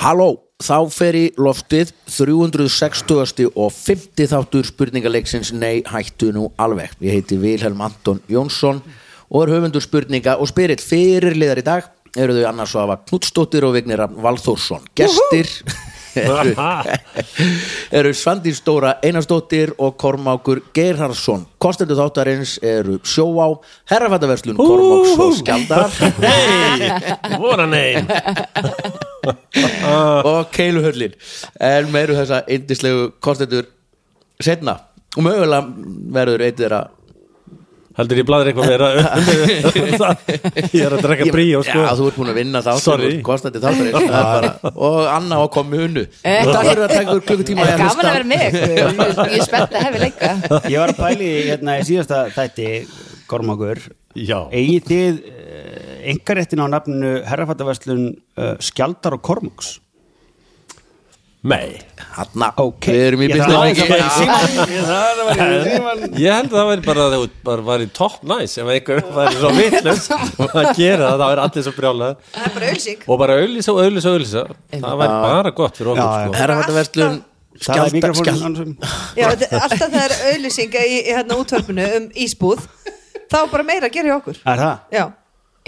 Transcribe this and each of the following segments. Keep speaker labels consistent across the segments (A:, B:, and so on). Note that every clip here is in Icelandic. A: Halló, þá fer í loftið 360. og 50 þáttur spurningaleiksins Nei, hættu nú alveg. Ég heiti Vilhelm Anton Jónsson og er höfundur spurninga og spyrill fyrirliðar í dag eru þau annars að hafa Knutstóttir og Vignir Rafn Valþórsson. Gestir eru, eru Svandi Stóra Einarstóttir og Kormákur Geirharsson. Kostendu þáttarins eru Sjóá, Herrafættaverslun Kormáks og Skjaldar
B: Nei, vona nei
A: og keiluhöllin en meiru þessa indislegu kostendur setna og mögulega verður eitt þeirra
B: Heldur ég bladri eitthvað meira um það? Ég er að drekka
A: Ég-
B: bríó sko
A: Já, þú ert búin að vinna þá
B: Sorry.
A: Kostandi þáttarins það er bara- Og Anna á komi hunnu Takk fyrir að taka úr klukkutíma
C: Það
A: í
C: er
A: að
C: Eh. gaman
A: hlusta.
C: að vera með ykkur, Ég- ég er spennt að hefði leika
D: Ég var að pæli hérna í síðasta þætti Kormakur
B: Já.
D: Egið þið engaréttin á nafninu herrafattaverslun uh, Skjaldar og Kormaks
B: Nei
A: Hanna,
D: Ok.
A: við erum í
D: Ég
A: business
D: þarf
A: lengi.
D: aðeins að fara í
A: Já.
B: Ég held að það væri bara að þú bara væri top nice ef einhver væri svo vitlust að gera það, það væri allir svo brjálaðar
E: Það er bara ölsík
B: og bara auðlýsa og auðlýsa og auðlýsa það væri bara gott fyrir
D: Já,
B: okkur sko.
A: Herrafattarverslun
D: Það er
A: Skjaldar
D: mikrofónin
A: skjald-
D: hann
E: Já, þetta er- alltaf það er auðlýsing í, í hérna útvarpinu um ísbúð þá er bara meira að gera hjá okkur
D: Er það?
E: Já,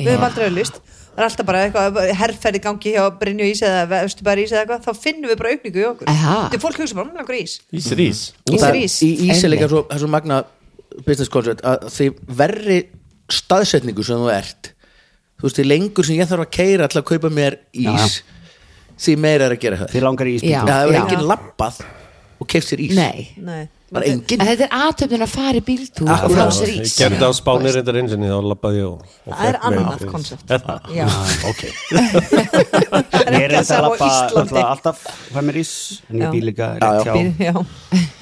E: við höfum aldrei auðlýst Það er alltaf bara eitthvað, herrferði gangi hjá Brynju Ís eða Vesturbæri Ís eða eitthvað þá finnum við bara aukningu í okkur
C: Aha.
E: Þetta er fólk hugsa bara, hún langar í ís
B: Ís er ís
A: Og það er
E: Ís er ís.
A: Í ís er líka
C: Einmitt.
A: svo, það er svo magna business concept að því verri staðsetningu sem þú ert þú veist, því lengur sem ég þarf að keira til að kaupa mér ís því meira er að gera það
D: Þið langar í
A: Já,
C: Já.
D: íspítum
A: það hefur
C: Já.
A: enginn lappað og keift sér ís
C: Nei
E: Nei,
A: bara enginn
C: En þetta er aðtöfnun að fara í bíltúr
A: Akkurat.
C: og fá sér
B: Ég
C: ís
B: gerði það á spánir reyndar einu sinni þá lappaði ég og, og
E: Það er
B: fékk mér
E: annað
B: ís.
E: konsept.
B: Er það?
E: Já,
D: Ah, Ok
E: það er
D: Ég er
E: ekki að
D: reyndar að
E: sama á
D: lappa
E: Íslandi
D: náttúrulega alltaf hvað mér ís En
E: Já.
D: ég býl líka
A: Já,
D: rétt
A: já.
D: hjá
E: Já,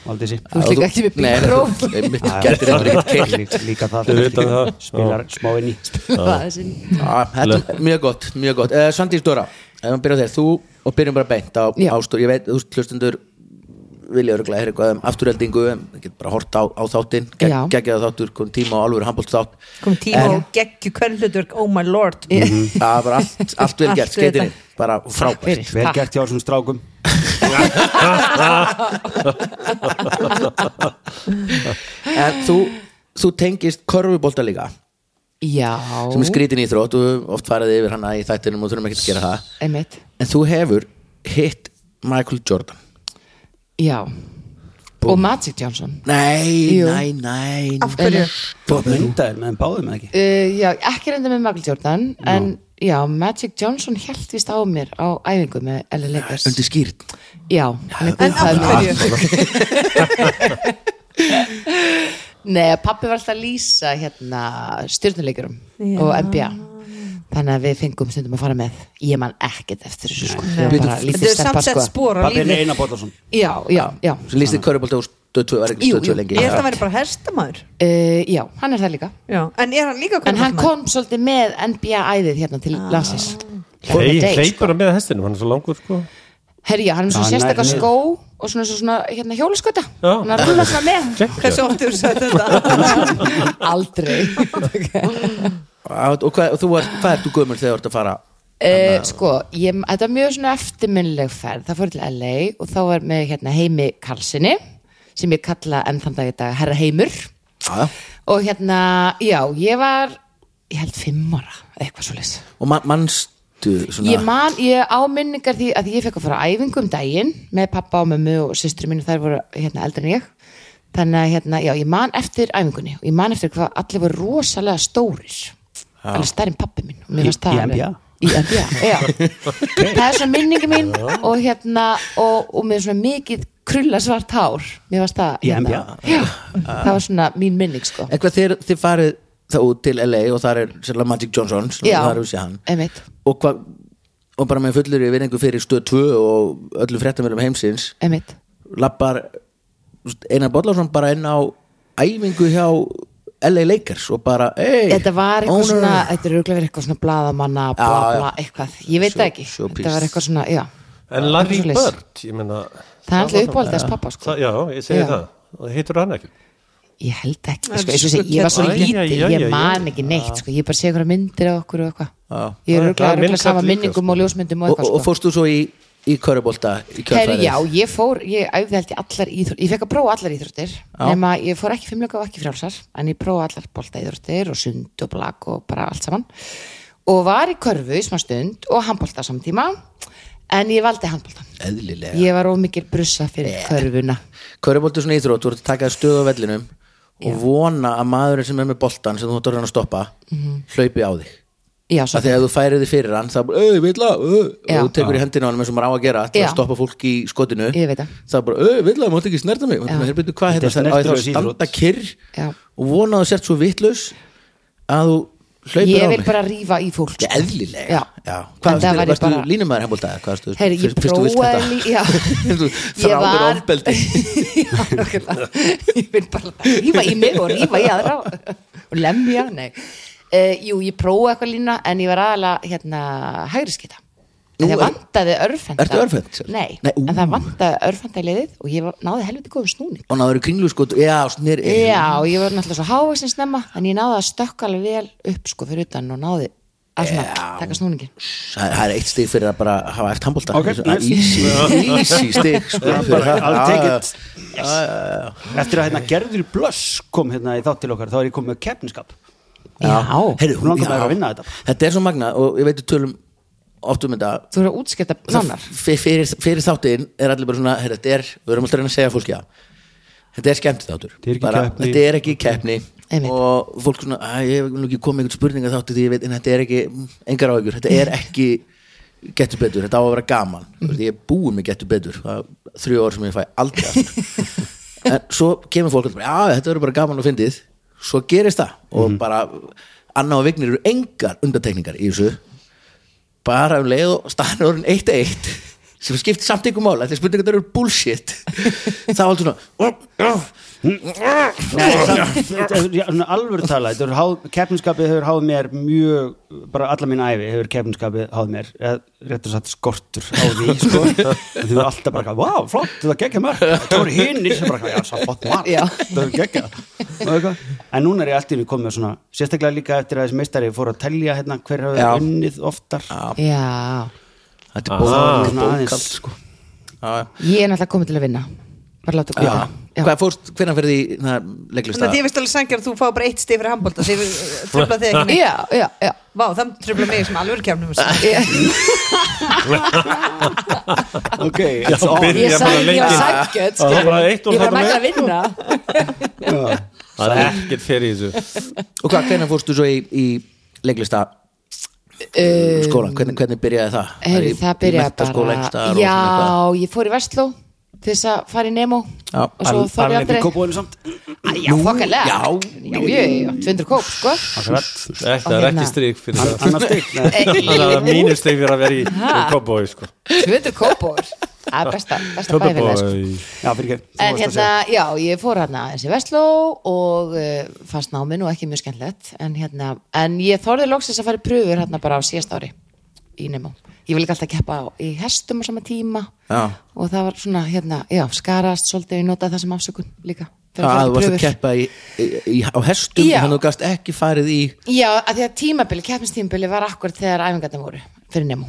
D: Valdísi
C: Þú ert líka ekki með bílpróf
A: mitt gætir eftir ekkert keirt
D: Lí- Líka það
B: Þið vitað það.
D: Spilar smá inn í
C: Já,
A: Já, Ah, Þetta er mjög gott, mjög gott uh, Svandís Dóra, ef maður byrja á þér þú og byrjum bara beint á
C: Já.
A: ástóð ég veit, þú veist, hlustendur vilja örgulega heyra eitthvað um afturheldingu en það getur bara hort á, á þáttinn
C: Já.
A: geggjaða þáttur, kom tíma á alvöru handbólt þátt
E: kom tíma og geggju hvern hlutverk Oh my lord
C: Mhm.
A: það var allt, allt vel gert,
E: Allt við
A: skeitinni bara frábært
C: fyrir.
D: Vel gert hjá þessum strákum
A: en þú, þú tengist körfubólta líka sem er skrítin í þrótt og oft faraði yfir hana í þættinum og þurfum ekki að gera það
C: einmitt
A: en þú hefur hitt Michael Jordan
C: Já Og Magic Johnson
A: nei,
C: Jú.
A: nei, nei
E: Af hverju?
D: Þú að mynda þér með þeim báðum eða ekki
C: uh, Já, ekki reynda með Michael Jordan En já, Magic Johnson held vist á mér á æfingu með LA Lakers
A: undir skýrt
C: Já, hann er
E: En
C: guðfræður
E: af
C: minn.
E: hverju?
C: Nei, pappi var alltaf að lýsa hérna stjórnuleikurum og NBA Þannig að við fengum stundum að fara með Ég man ekkert eftir þessu sko Ég var bara
E: Þetta
C: lítið
E: er
C: stelpa
E: samsett
C: sko
E: spór á
D: Pappi
E: lífi
D: Einar Bóttarsson
C: Já, já, já uh,
A: sem lýstir körfubólta og stöð 2 var ekki
C: Jú,
A: stöð 2
C: jú.
A: lengi
E: Ég held að vera bara herstamæður
C: Eh, Já, hann er það líka
E: Já, en er hann líka
C: En hann kom svolítið með NBA-æðið hérna til landsins For the
B: Hey,
C: day, sko.
B: Hleypur hann með hestinum, hann er svo langur sko
C: Herri, já, hann er með svona
D: Já, hann er
C: sérstakar
D: niður.
C: skó og svona, svona, svona hérna, hjólusköta
B: Já.
C: hann er að rúla svona með
E: Hversu oft hefur sagt þetta?
C: aldrei
A: og, og, hvað, og þú er, hvað ert þú gömur þegar þú ert að fara
C: uh, sko, ég, þetta var mjög svona eftirminnileg ferð, það fór til LA og þá var með hérna, heimi Karlssoni sem ég kalla enn þann dag í dag herra heimur
A: Já, já.
C: og hérna, já, ég var ég held fimm ára, eitthvað svo leys
A: og man, manstu svona
C: Ég man, ég á minningar því að ég fekk að fara á æfingu um daginn með pappa og mömmu og systri mínu, þær voru hérna eldri en ég þannig að hérna, já, ég man eftir æfingunni og ég man eftir hvað allir voru rosalega stórir alveg stærri en pappi mín og
D: Í-
C: mér fannst það
D: í
C: alveg-
D: NBA?
C: Í NBA, já Það er svona minningi mín og hérna og, og með svona mikið krulla svart hár mér fannst það
D: Í
C: hérna, Já, það var svona mín minning sko
A: eitthvað þið, þið farið það út til LA og þar er sérlega Magic Johnson
C: Já,
A: það er við sér hann
C: einmitt,
A: og, hva, og bara með fullur í vinningu fyrir stöð 2 og öllu fréttamöðlum heimsins
C: einmitt
A: lappar Einar Bollarsson bara inn á æfingu hjá LA Lakers og bara hey,
C: Þetta var eitthvað
A: owner."
C: svona, þetta er auðvitað verið eitthvað svona bladamanna, bla
A: Já, já.
C: bla, eitthvað, ég veit
A: Sjó-
C: það ekki,
A: showpiece.
C: þetta var eitthvað svona, já,
B: En Larry
C: Svoleiðis.
B: Bird, ég meina
C: það er alltaf
B: var-
C: uppáhaldast pappa, sko,
B: Það- Já, ég segi
C: Já.
B: það og hittur hann ekki
C: ég held ekki,
E: Það
C: sko,
E: er
C: ég, sé,
E: svo
C: ég var svo
B: Æ,
E: kjöt-
B: já, já,
C: lítið,
B: já,
C: ég
B: já.
C: man ekki neitt, sko, ég bara sé einhverja myndir af okkur og eitthvað,
A: Já.
C: ég
B: Það er- það er
C: er auðvitað
B: minnsætt
C: sama
B: líka,
C: minningum
B: sko.
C: og ljósmyndum og
A: og, og, og
C: eitthvað, sko,
A: fórstu svo í í körubólta í
C: Herri,
A: kjölfarið?
C: já, ég fór, ég æfði held ég allar íþróttir, ég fekk að prófa allar íþróttir nema ég fór ekki fimmlega og ekki frjálsar en ég prófa allar bolta íþróttir og sund og blak og bara allt saman og var í körfu í smá stund og handbolta samtíma, en ég valdi handbolta
A: Eðlilega.
C: ég var of mikil brussa fyrir körfuna
A: Körubólti er svona íþrótt, þú ert að taka þér stöðu á vellinum og vona að maðurinn sem er með boltan sem þú ert að reyna að stoppa
C: Mhm.
A: hlaupi á þig
C: já,
A: Af
C: svo,
A: því að ef þú færir þig fyrir hann þá bara, auð, vilja, auð og
C: Já.
A: þú tekur í hendina á hann eins og maður á að gera til
C: Já.
A: að stoppa fólk í skotinu
C: Ég veit það.
A: þá bara, auð, vilja, þú mátt ekki snerta mig
C: Já.
A: hér byrju hvað
D: Þetta
A: hérna, á ég
D: er
A: þá að
D: snertilaus
A: standa
D: íþrótt.
A: kyrr
C: Já.
A: og vona að þú sért svo vitlaus að þú hlaupir
C: ég
A: á
C: vil
A: mig
C: bara rífa í fólk sko.
A: Ég eðlilega
C: Já. En
A: Hvað
C: það var
A: varstu,
C: ég
A: varstu
C: bara-
A: línumæður hefnbóltaði? Hvað varstu,
C: Herri, ég
A: fyrst- fyrst þú vilt
C: prófaði
A: þetta?
C: lí- já.
A: Þú
C: Ég
A: þráðir
C: var-
A: ofbeldi
C: Já, nákvæmlega. ég vil bara rífa í mig og rífa í aðra og lemja, nei uh, jú, ég prófaði eitthvað lína en ég var aðalega hérna, hægri skita
A: Nú,
C: en það
A: er-
C: vantaði örfenda
A: Ertu örvhent?
C: Nei,
A: Nei, ú.
C: en það vantaði örfenda í liðið og ég var, náði helviti góðum snúning
A: Og náður kringlu sko Já, snir
C: Já, og ég var náttúrulega svo hávaksin snemma en ég náði að stökka alveg vel upp sko fyrir utan og náði að svona taka snúningin
A: Það það er eitt stig fyrir að bara hafa eftir handbólta
D: Ok, nice.
A: Easy, easy stig sko, fyrir það.
D: I'll
A: Já,
D: take
A: já,
D: it Eftir að hérna gerður blöss kom hérna í þátt til okkar þá er ég komið með keppniskap
C: Já,
A: Heyrðu,
D: Nú langar
A: já.
D: maður að vinna þetta.
A: Þetta er svo magna og ég veit við tölum oft um þetta
C: þú eru að útskipta nánar
A: F- fyrir, fyrir þáttin er allir bara svona heyrðu, þetta er, við erum alltaf að reyna að segja fólki að þetta er skemmt þáttur
D: Þetta er ekki keppni.
A: þetta er ekki keppni
C: Einmitt.
A: og fólk svona, að ég vil nú ekki koma með einhvern spurninga þáttu því ég veit, en þetta er ekki mm, engar áhyggjur, þetta er ekki getur betur, þetta á að vera gaman mm. ég er búin með getur betur það er þrjú ár sem ég fæ aldrei aftur en svo kemur fólk og bara, já, þetta verður bara gaman og fyndið, svo gerist það
D: Mhm.
A: og bara, Anna og Vignir eru engar undartekningar í þessu bara um leið og staðan orðin eitt að eitt sem skiptir samt ykkur mála þegar spurningar það eru bullshit það var alltaf svona
D: Alvöru tala, þetta er háð- keppniskapið hefur háð mér mjög bara alla mín æfi hefur keppniskapið háð mér eða rétt og satt skortur á því sko. þau eru alltaf bara, wow, flott, þetta geggja mörg það voru hinnir sem bara, já, það er flott marg
C: Já.
D: það er geggja en núna er ég alltaf komið með svona sérstaklega líka eftir að þessi meistari fór að telja hérna, hver
A: Já.
D: hafði unnið oftar já,
C: Já,
A: þetta er bókald,
D: svona aðeins.
A: bókald sko. Já, já.
C: ég er náttúrulega komið til að vinna bara láta
A: Já.
C: okkur
A: hvað fórst, hvernig fyrir því
E: Þannig
A: leiklist
E: að
A: að
E: ég veist alveg sangja að þú fá bara eitt stig fyrir handbólta því við tröfla þig ekki neitt.
C: Já, já, já
E: Vá, það tröfla mig sem alveg kemnum
D: ok,
B: Já,
D: it's on.
B: byrja bara
C: Ég sagði, ég var
B: leikinn.
C: sækjöld
B: Það var bara eitt og
C: Ég var
B: þetta
C: mætti
B: með.
C: að vinna
B: það er ekkert fyrir í þessu
A: og hvað, hvernig fórstu svo í, í leiklista
C: Um,
A: skólan, hvernig, hvernig byrjaði það
C: Heyri,
A: Í-
C: það
A: í
C: byrjaði
A: menntaskóla einhvers
C: bara
A: staðar og svona
C: Já, ég fór í Vestló til þess að fara í Nemo
A: Já,
C: og svo þorði
D: Alveg í
C: aldrei
D: kópóinu samt
C: Já, fokkalega
A: já.
C: já, já, já, 200 kóp, sko
D: Akkurat.
B: Ekki- það
C: Og
B: er
C: hérna-
B: ekki strík fyrir það
D: annars stig nei.
B: þannig að mínustig fyrir að vera í kobói sko
C: 200 kópor Það er besta, besta bæfélag sko.
B: Kobói.
D: Já, fyrir ekki, þú
C: En
D: varst að segja
C: hérna, já, ég fór hérna aðeins í Vestló og uh, fannst námið nú ekki mjög skemmtilegt en hérna, en ég þorði loksins að fara í pröfur hérna bara á síðast ári í Nemo. Ég vil ekki alltaf keppa á, í hestum á sama tíma
A: Já.
C: og það var svona, hérna, já, skarast svolítið, ég notaði það sem afsökun líka fyrir
A: að
C: fara
A: þú
C: í
A: varst að
C: prufur.
A: keppa í, í, í, á hestum
C: Já.
A: þannig að þú gast ekki farið í
C: Já, að því að tímabili, keppnistímabili var akkur þegar æfingarnir voru fyrir Nemo.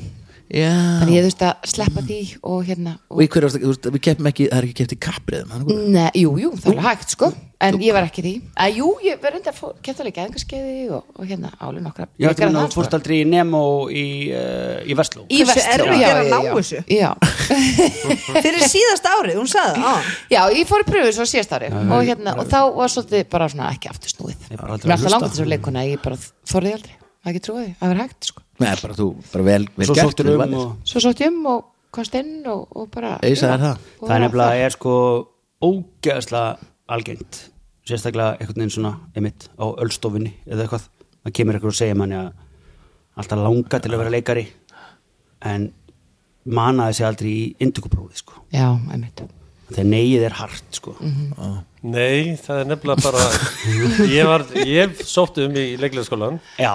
A: já,
C: Þannig ég þurfti að sleppa því og hérna og
A: og í hverju varstu- þú veist, við keppum ekki, það er ekki keppt í kapriðum þannig
C: Nei, jú, jú, það var hægt sko En ég var ekki í því að, Jú, ég var reyndi að kemta líka engarskeiði og, og hérna álu nokkra
D: Já, þetta
C: leikara
D: er
C: þar,
D: þú fórst aldrei í Nemo í, uh, í Vestló
C: Í
E: Hversu
C: Vestló,
E: erfitt
C: já,
E: er að
C: já,
E: ná
C: já.
E: þessu?
C: Já,
E: fyrir síðast árið, hún sagði það á.
C: já ég fór í pröfu svo síðast ári og, hérna, og þá var svolítið bara svona ekki aftur snúið Mér
D: bara
C: alltaf
D: aldrei að hlusta.
C: langt þessu leikuna, ég bara þorði aldrei Það ekki trúið, það var hægt sko
A: Nei, bara þú, bara vel, vel
D: Svo
A: gert
D: sóttur
A: þú
D: um
A: valdir.
D: og
C: Svo sótt ég um og komst inn og, og bara
A: Eisa
C: já,
A: er það.
C: og
D: það er
C: var
D: nefnilega er sko ógeðslega algengt sérstaklega einhvern veginn svona einmitt á öllstofunni eða eitthvað það kemur eitthvað og segja manni að alltaf langa til að vera leikari en manaði sig aldrei í induguprófið sko
C: Já, einmitt
D: þegar neyið er hart sko
C: Mhm.
B: nei, það er nefnilega bara ég var, ég sótt um í leiklegaskólan
D: já,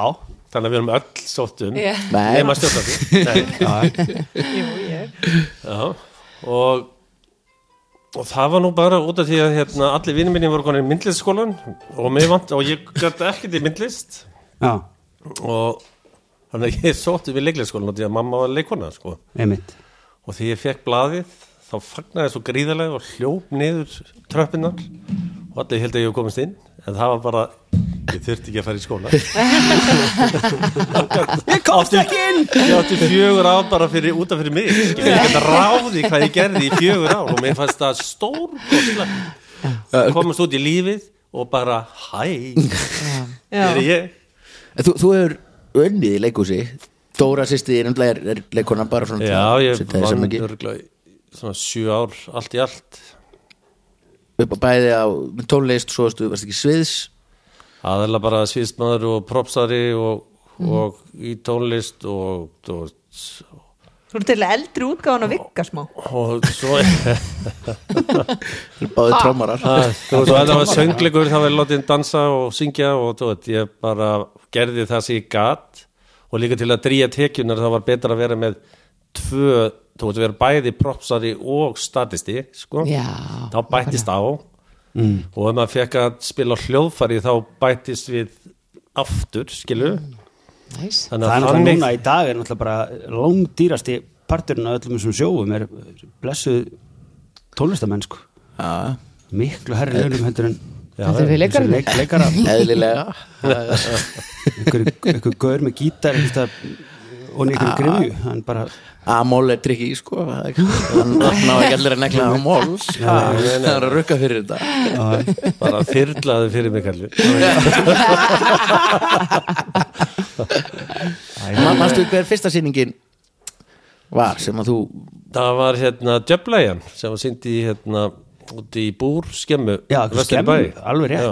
B: þannig að við erum öll sótt um
C: Já.
A: Nei.
B: nema stjórnandi Nei. já, og og það var nú bara út af því að hérna, allir vinnir minni voru konir í myndlistskólan og, mig vant, og ég gæti ekkert í myndlist
D: já,
B: og þannig að ég sótti við leiklisskólan og því að mamma var leikona sko.
D: einmitt
B: og því ég fekk blaðið þá fagnaði ég svo gríðarlega og hljóp niður tröppinar og allir held að ég hef komist inn en það var bara, ég þurfti ekki að fara í skóla Ég komst ekki inn Ég átti fjögur ár bara fyrir, út af fyrir mig skilur. ég get ráði hvað ég gerði í fjögur ár og mér fannst það stór komast út í lífið og bara, hæ er ég
A: En Þú, þú hefur unnið í leikúsi Dóra sýsti þín er, er leikona bara svona
B: Já, ég
A: setja þér sem
B: vann
A: ekki
B: örgulega svona sjö ár allt í allt
A: upp á bæði á með tónlist svo varstu, varstu ekki sviðs
B: aðeins bara sviðsmaður og propsari og, og í tónlist og, og,
E: Þú eru til eldri útgáðan að vikka smá
B: og svo að,
D: Ah.
A: báði trómarar
B: Ah, þú veist, og þetta var söngleikur þá var ég látið dansa og syngja og þú veit, ég bara gerði það sem ég gat og líka til að dríja tekjunar þá var betra að vera með tvö, þú veist, vera bæði propsari og statisti, sko
C: Já,
B: þá bættist á
D: Mm.
B: og ef maður fekk að spila á hljóðfari þá bættist við aftur, skilu
C: næs
B: þannig
D: Mm. það er
B: að
D: náttúrulega
B: þannig
D: núna í dag er náttúrulega bara langdýrasti parturinn af öllum þessum sjóum er blessuð tólestamenn sko
A: Já,
D: miklu herri
B: Eh,
D: launum heldur en
C: Þetta er við leikarinn
D: leik, leikara
A: eðlilega
D: einhver, einhver gaur með gítar einhver, og einhver
B: Ah.
D: grifju hann bara
A: Amol er trikki sko Það er ekki- hann ná ekki allir að negla Amol það er að rukka fyrir þetta
B: Ah. bara þyrlaði fyrir mig kallu
A: Ma- Manstu hver fyrsta sýningin var sem að þú
B: það var hérna Djöblæjan sem var syndi hérna úti í búr skemmu
D: já,
B: vestur í
D: skemm,
B: bæ.
D: alveg rétt
B: Já.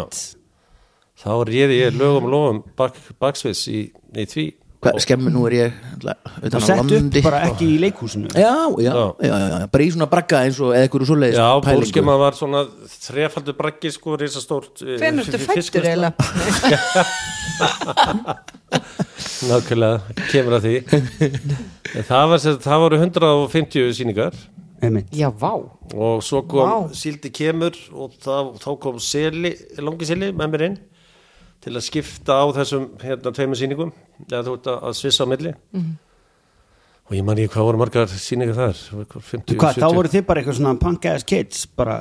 B: þá réði ég lögum og lofum bak, baksviss í, í því
A: hva, skemmu nú er ég ætla,
D: það
A: utan á
D: sett upp
A: landi
D: bara ekki í leikhúsinu
A: já, já,
B: Já.
A: já, já, já, bara í svona bragga eins og eða eitthvað svoleiðis
B: já,
A: pælingu.
B: búrskemma var svona þrefaldur braggi sko, risastórt eh,
E: Hvernig ertu
B: fisk-
E: fættur
B: fiskvinnsla.
E: eiginlega?
B: nákvæmlega, kemur að því En það, var, sem sagt- það voru 150 sýningar
D: einmitt
C: Já, vá
B: og svo kom síldi kemur og það, þá kom seli, langi seli með mér inn til að skipta á þessum hérna tveimur sýningum eða þú ert að- að svissa á milli
D: Mhm.
B: og ég man ég hvað voru margar sýningar þar Einhver 50,
D: hvað, þá
B: 70.
D: voru þið bara eitthvað svona punk-ass kids bara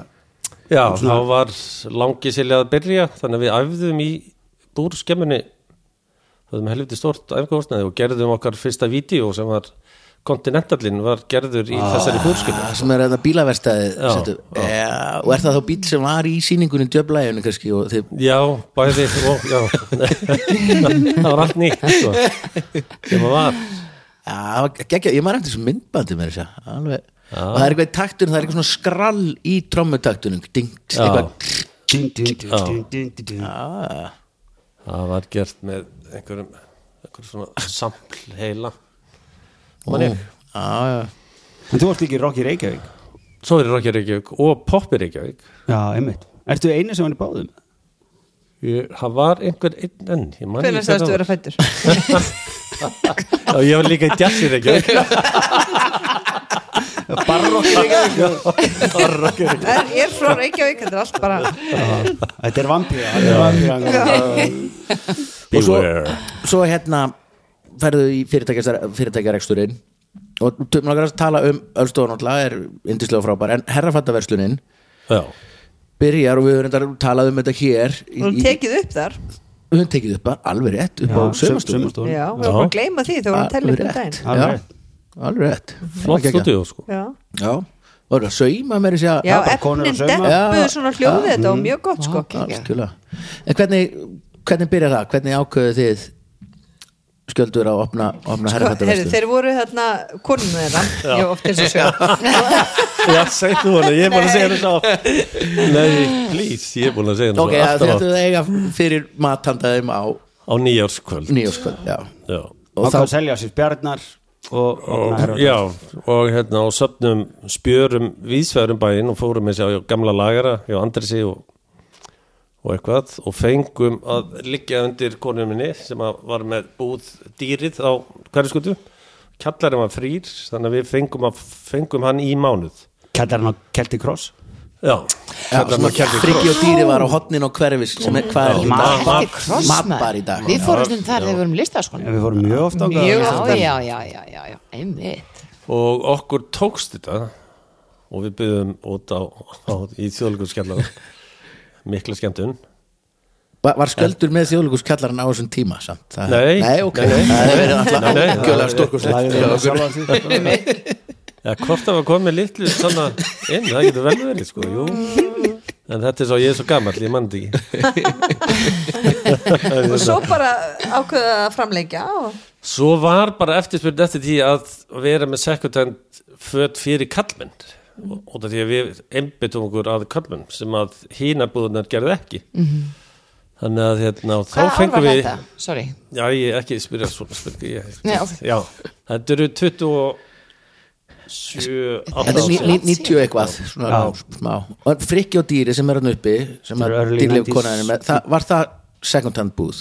B: já, þá var langi seli að byrja þannig að við æfðum í búrskemmunni höfðum helviti stort æfgóðsnaði og gerðum okkar fyrsta vídeo sem var Continentallin var gerður í
D: Ah.
B: þessari búrskemmu
A: Það Ah, sem er þetta bílaverstaði
B: Já,
A: já, og er það þá bíl sem var í sýningunni djöflæjunni kannski og þið
B: Já, bæði og, já. Það var allt nýtt sko. sem að var
A: Já, það var geggjað, ég maður eftir þessu myndbandi með þessu, alveg og það er eitthvað í taktunum, það er eitthvað svona skrall í trommutaktunum, dingt,
B: Já.
A: eitthvað
D: dun, dun, dun,
B: Ah.
D: dun, dun, dun, dun.
A: Ah,
B: Það var gert með einhverjum einhverjum svona sampl heila
A: Ó,
B: Man ég.
A: Já, Ah, já,
D: en þú varst líka í Rocky Reykjavík
B: Ah. Svo er Rokkja Reykjavík og Poppi Reykjavík
D: já, einmitt ertu einu sem hann er báðum?
B: Ég- Það var einhver einn enn Ég man ekki hver
E: Hvernig sagðist þú
B: það
E: vera
B: var.
E: fættur?
B: Já, Ég var líka í Jassi Reykjavík
D: bara Rocky Reykjavík bara Rocky Reykjavík
E: Er, er frá Reykjavík, þetta er allt bara
D: þetta er vampíra þetta er vampíra
A: og svo,
B: Beware.
A: svo hérna ferðu í fyrirtækjar- fyrirtækjareksturinn og tökum langar að tala um Ölstofan náttúrulega er yndislega og frábær, en herrafattaverslunin
B: Já,
A: byrjar og við höfum reyndar talað um þetta hér í-
E: Þú
A: í-
E: tekið upp þar
A: við höfum tekið upp að alveg rétt upp á sömastúr
D: sömastúr
E: Já, við varum bara að gleyma því þegar við varum að tella upp um daginn
D: Alveg
A: Já,
D: rétt.
A: alveg rétt
B: flott stúdíu sko.
E: Já,
A: Já, og það sauma mér að
E: já
A: segja
D: bara konur
E: efnin
D: að sauma.
E: deppuðu
A: Já,
E: svona hljóðið þetta og mjög gott sko
A: Algjörlega. En hvernig, hvernig byrjar það? Hvernig ákveðu þið skjöldur að opna, opna sko,
E: Herri,
A: herrafattarverslun?
E: þeir voru þarna konum þeirra Ég var oft eins og sjá
B: Já, segðu hana, ég er búin að segja þetta Nei, please, ég er búin að segja
A: Ok,
B: þetta
A: ja, þið
B: alltaf átt.
A: ættu að eiga fyrir mathandaðum á
B: á nýjárskvöld
A: nýjóskvöld Já,
B: Já
A: Og þá-
D: ákvað að selja sér spjarnar og,
B: og,
D: og
B: já, og hérna og söpnum spjörum vísfærum bæinn og fórum með sér á gamla lagara hjá Andresi og, og eitthvað og fengum að liggja undir konum minni sem að var með búð dýrið á hverju skutu kjallarinn var frýr þannig að við fengum, að, fengum hann í mánuð Hérna,
D: kættar hann á Celtic Cross
B: já,
A: já
B: kjallarinn var kjallarinn
A: Friggi og dýri var á hotnin og hverfis sem er hvað er í
D: Mat-
A: dag?
B: mat-
A: Kross, Mabbar í dag
C: sko. Við fórum stundum þar þegar við vorum listað
D: við fórum mjög oft á
C: Mjög, já, já, já, já, já, einmitt
B: og okkur tókst þetta og við byggðum út á, á í þjóðleikurskjallar mikla skemmtun
A: Var, var sköldur með þjóðleikuskallaran á þessum tíma samt? Það,
B: Nei.
A: Nei, ok
B: Nei, nei.
A: Það er verið alltaf
B: Nei, nei.
A: ágjölega stórkurslegt
F: Lagði það sjálfan sig.
B: Já, hvort það var komið litlu svona inn, það getur vel verið sko, jú En þetta er svo, ég er svo gamall, ég mann þetta ekki
E: og svo bara ákveða að framlengja og
B: Svo var bara eftirspyrn eftir því að vera með secondhand föt fyrir kallmenn og það því að við einbyttum okkur að kallmenn sem að hínabúðunar gerði ekki Þannig að hérna, og þá
C: Mhm. Hvaða ár
B: fengum
C: var
B: við
C: þetta? Sorry,
B: Já, ég ekki spyrja svona spurningu ég,
C: Nei, ok.
B: Já, þetta eru 27
A: Þetta er ní-
B: 28
A: ní- 90 eitthvað svona smá og Frikki og dýri sem er hann uppi sem er
D: Þetta er early
A: dýrleif
D: 90s.
A: konaðinu með það, Var það second hand búð?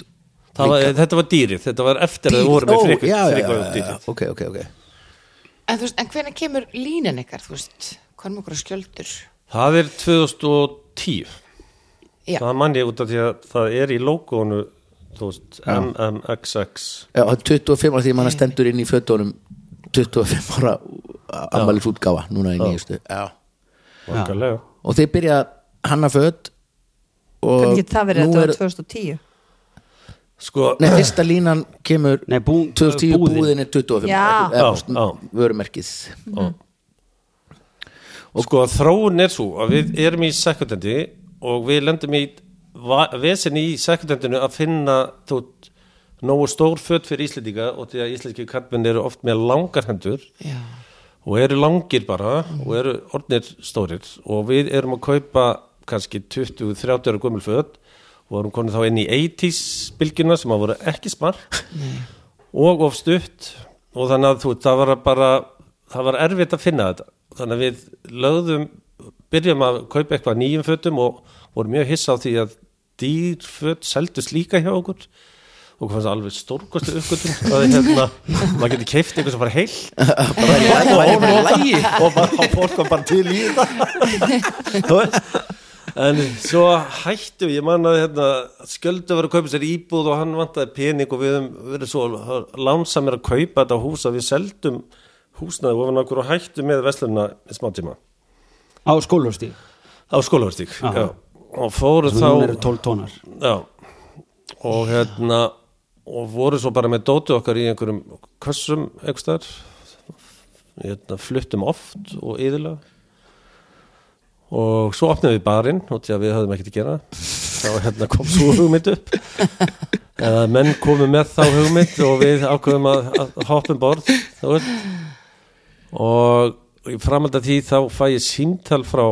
B: Það var, þetta var dýrið, þetta var eftir að við vorum með
A: Ó,
B: frikvöld
A: já, já,
B: frikvöld
A: já, já,
B: dýrið.
A: ok, ok, ok
C: en, þú veist, en hvenær kemur línan ykkar, þú veist hvað er okkur að skjöldur
B: Það er 2010
C: Já.
B: Það mann ég út af því að það er í logonu þú veist, MMXX
A: Já, það er 25 ára því að manna stendur inn í fötunum 25 ára ammælis útgáfa núna í nýjustu Já
B: Vangarlega
A: Og þið byrja hanna föt og
E: hvernig getur það verið að
A: nú
E: þetta var
A: er-
E: 2010
B: Sko,
A: Nei, fyrsta línan kemur
D: Nei, bú-
A: 2010
D: búðin.
A: búðin er 25
E: Já.
A: eða,
B: Já,
A: svona,
B: já.
A: vörumerkið
B: og sko þróun er svo að við erum í sekundendi og við lendum í va- vesen í sekundendinu að finna þú veist, nógu stór föt fyrir Íslendinga og því að íslenski karpin eru oft með langar hendur
C: Já,
B: og eru langir bara og eru orðnir stórir og við erum að kaupa kannski 20-30 ára gömul föt og erum konið þá inn í 80s bylgjuna sem að voru ekki smart og of stutt og þannig að þú, það var bara það var erfitt að finna þetta þannig að við lögðum byrjum að kaupa eitthvað nýjum fötum og vorum mjög hissa á því að dýr föt seldust líka hjá okkur og hvað fannst það alveg stórkostu uppgötum að hérna, maður getur keift eitthvað sem var heilt
A: Það væri bara í lagi.
B: og bara fólk kom bara til í þetta en svo hættu ég man að hérna, sköldu var að kaupa sér íbúð og hann vantaði pening og við höfum verið svo lánsamir að kaupa þetta hús að við seldum húsnaði ofan okkur og hættu með veslunna í smá tíma
D: á skólaustíð
B: á skólaverstík
D: Já.
B: og fóru
D: þá
B: þá
D: eru 12 tónar
B: Já og hérna og voru svo bara með dótið okkar í einhverjum kössum einhverstaðar hérna, fluttum oft og yðurlega og svo opnaði við barinn og því að við höfðum ekkert að gera þá hérna kom svo hugmynd upp eða menn komu með þá hugmynd og við ákveðum að, að hoppum borð þú veist. og í framhald að því þá fæ ég símtal frá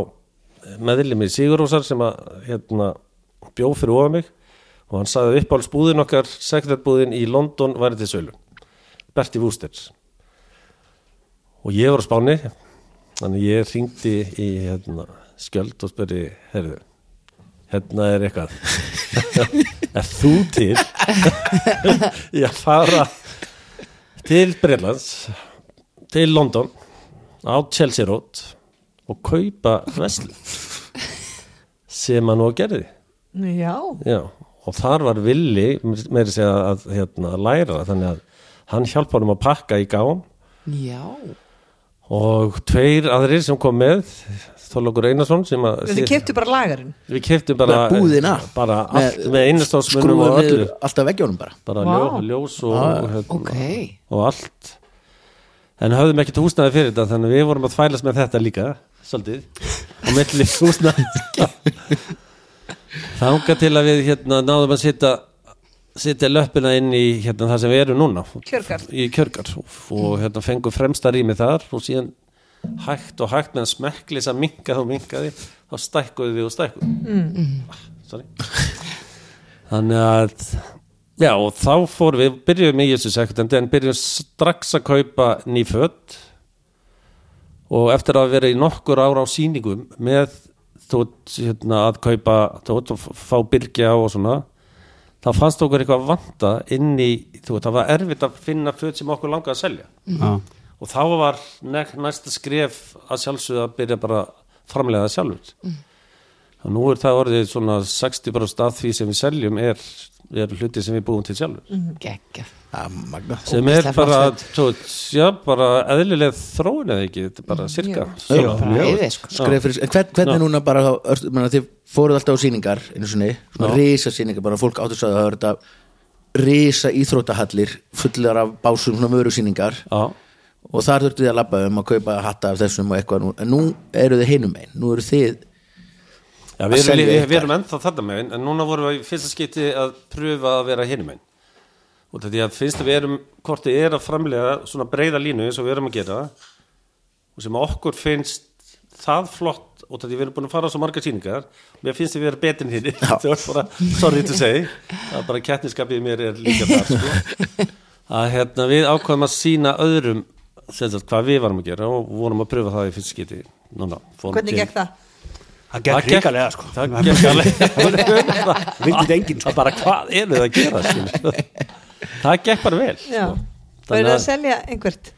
B: meðlimi Sigurósar sem að hérna, bjó fyrir ofan mig og hann sagði upp alls búðin okkar sekundarbúðin í London væri til sölu Berti Wooster og ég var á Spáni þannig ég hringdi í hérna, skjöld og spurði herðu, hérna er eitthvað er þú til ég að fara til Breitlands til London á Chelsea Road og kaupa veslun sem hann og gerði
E: já,
B: Já, og þar var villi meiri segja að hérna, læra það, þannig að hann hjálpa honum að pakka í gáum
C: já
B: og tveir aðrir sem kom með Þorlokur Einarsson sem að
E: þið keftu bara lagarinn
B: við keftum bara, eh,
A: Búðina
B: bara allt með einastásmunum
A: skrúfuð
B: og öllu
A: niður Alltaf veggjónum bara
B: bara
E: Vá.
B: ljó, ljós og, og, hérna,
C: ok
B: og allt en höfðum ekkert húsnaði fyrir þetta þannig að við vorum að þvælast með þetta líka svolítið, á milli húsnaði þanga til að við hérna náðum að sitja sitja löppina inn í hérna það sem við erum núna
E: Kjörgarð.
B: í kjörgar og hérna fengum fremsta rými þar og síðan hægt og hægt meðan smekklis að minka og minkaði þá stækkuðu við og stækkuðu sorry þannig að já og þá fórum við, byrjuðum í þessu sekundandi en byrjuðum strax að kaupa ný föt og eftir að vera í nokkur ára á sýningum með þótt hérna, að kaupa þótt og fá byrgja og svona þá fannst okkur eitthvað vanta inn í, þú veit, það var erfitt að finna föt sem okkur langaði að selja og þá var nek- næsta skref að sjálfsögða að byrja bara að framlega það sjálfur og nú er það orðið svona 60% af því sem við seljum er eru hluti sem við búum til sjálfur
A: Það
C: geggja
A: er Ah, magna
B: sem er
C: Mm. Ógeðslega
B: bara,
C: flott.
B: svo, já, bara eðlileg þróun eða ekki, þetta er bara sirka
A: Já.
C: bara yfir sko
A: Skref fyrir, en hvern, hvernig núna bara þá, örst- ég meina, þið fóruð alltaf á sýningar einu sinni, svona risa sýningar bara fólk áttu sagði að það var þetta risa íþróttahallir fullar af básum svona vöru sýningar
B: Já,
A: og þar þurftu þið að labba um að kaupa hatta af þessum og eitthvað nú, en nú eru þið hinum einn, nú eru þið
B: já við, erum,
A: selja
B: við,
A: ykkar.
B: við erum ennþá þetta megin en núna vorum við í fyrsta skipti að pröfa að vera hinum megin og þetta ég finnst að við erum, hvort þið er að framlega svona breyða línu eins og við erum að gera og sem að okkur finnst það flott og þetta við erum búin að fara á svo marga sýningar mér finnst þið við erum betin hinn það var bara, sorry to say að bara kettniskapið í mér er líka það sko. að hérna, við ákvæðum að sína öðrum sem sagt, hvað við varum að gera og vorum að pröfa það í fyrst skipti núna, fórum
E: Hvernig
B: til-
E: gekk það?
D: það gekk ríkalega sko
B: það gekk alveg
D: vildi þetta enginn sko
B: það bara hvað eru það að gera skilur? það gekk bara vel
E: Já,
B: sko.
E: og
B: þannig
E: eru það að
B: að
E: selja einhvert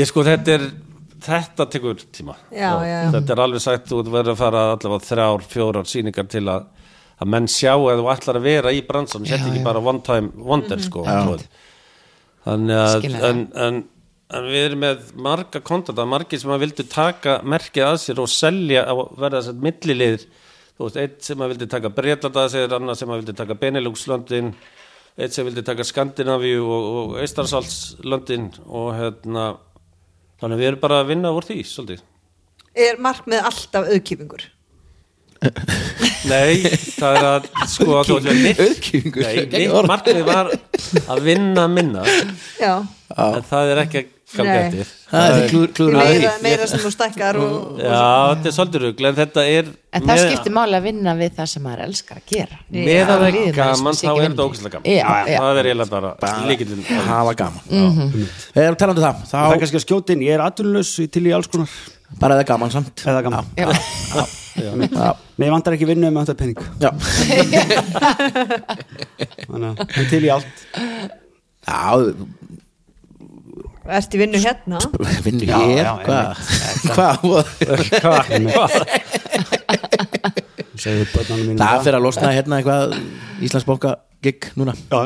B: ég sko þetta er þetta tekur tíma
E: Já,
B: Og
E: já, já.
B: þetta er alveg sagt þú verður að fara allavega þrjár, fjórar síningar til að að menn sjá að þú ætlar að vera í bransan þetta
C: Já,
B: ekki
C: já.
B: bara one time wonder sko tróð. þannig að
C: Skilja það.
B: en, en, en við erum með marga kontata, margir sem að vildu taka merkið að sér og selja að verða þess að milliliðir þú veist, einn sem að vildi taka Breitlanda að sér, annar sem að vildi taka Beneluxlöndin einn sem vildi taka Skandinavíu og, og Eistarsalslöndin og hérna þannig að við erum bara að vinna úr því svolítið
E: er markmið alltaf auðkýfingur
B: Nei, það er að sko að þú ætlum að
A: Auðkýfingur,
B: Nei,
A: ekki
B: mitt
A: orð.
B: markmið var að vinna minna
E: já,
B: en það er ekki að ganga
E: Nei.
B: eftir
A: það er klúr,
E: Því
A: klúr
E: meira, meira sem þú stækkar og,
B: Já, þetta er svolítið rugl en þetta er
C: en það skiptir máli að vinna við það sem maður elskar að gera
B: með að það
C: Líður
B: er
C: manni
B: gaman þá
C: sem
B: er
C: sé
B: þetta
C: ekki vinnu.
B: ógæslega
C: Já,
B: gaman
C: já.
B: það er eiginlega bara líkillinn
A: hafa gaman
D: Mhm.
A: Þegar við talandi um það, þá
D: það er kannski að skjóta inn, ég er atvinnulegs til í alls konar
A: bara það er gaman samt
D: eða gaman
C: Já.
A: Já,
D: Nei, ég vantar ekki vinnu með þetta pening
A: já.
D: Þannig að hann til í allt
A: já
E: ert í vinnu hérna
A: vinnu
D: Já,
A: hér,
D: já,
A: hvað hvað,
D: Segðu börnunum mínum
A: það fyrir að losna hérna eitthvað Íslandsbanka gig núna
D: Já,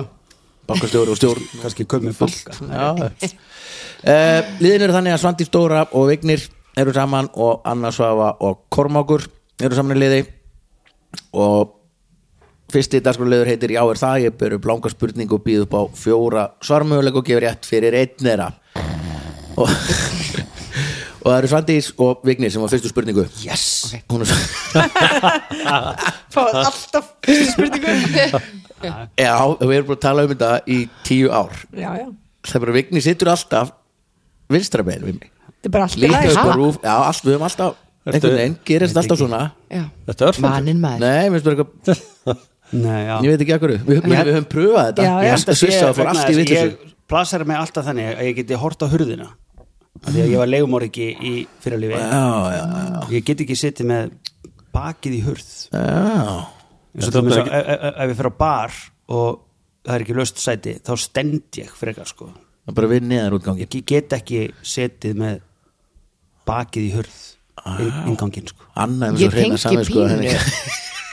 A: bankastjóri og stjórn
D: kannski köp með fólk
A: Já. Eh, liðin eru þannig að Svandi Stóra og Vignir eru saman og Anna Svafa og Kormákur eru saman í liði og fyrsti dagskráliður heitir Já er það, ég ber upp langa spurningu og býð upp á fjóra svarmöguleg og gefur rétt fyrir einn þeirra og, og það eru Svandís og Vignir sem var fyrstu spurningu yes! hún er
E: fáið alltaf fyrstu spurningu
A: Já, við erum búin að tala um þetta í tíu ár
E: já, já,
A: það er bara Vigni situr alltaf vinstra megin við mig
E: þetta er bara allt í
A: líka
E: lagi.
A: upp á
C: Ha?
A: rúf, já, allt, við höfum alltaf einhvern veginn, gerist alltaf svona
C: Já.
B: Þetta er örfandi.
C: Vaninn maður
A: nei, minnst bara eitthvað,
D: Nei, já
A: ég veit ekki akkur við, við, við höfum pröfað þetta,
E: Já, já.
A: ég
D: held að
A: held að svissa
D: sé-
A: það fór allt
D: vegna
A: í
D: þess að
A: vitlisum
D: Ég plasar mig alltaf þannig að ég geti hort á hurðina Af Því að ég var leigumorgi í fyrirlífi
A: já, já,
D: Ég get ekki setið með bakið í hurð
A: já
D: Eins og
B: Þetta
D: það
B: er
D: með svo ef ef- ef ég fer á bar og það er ekki löst sæti þá stend ég frekar sko
A: Það er bara við neðar útgangi
D: Ég get ekki setið með bakið í hurð inn- innganginn sko
A: Anna er með
C: ég
A: svo reyna
C: tengi
A: saman sko,
C: pínu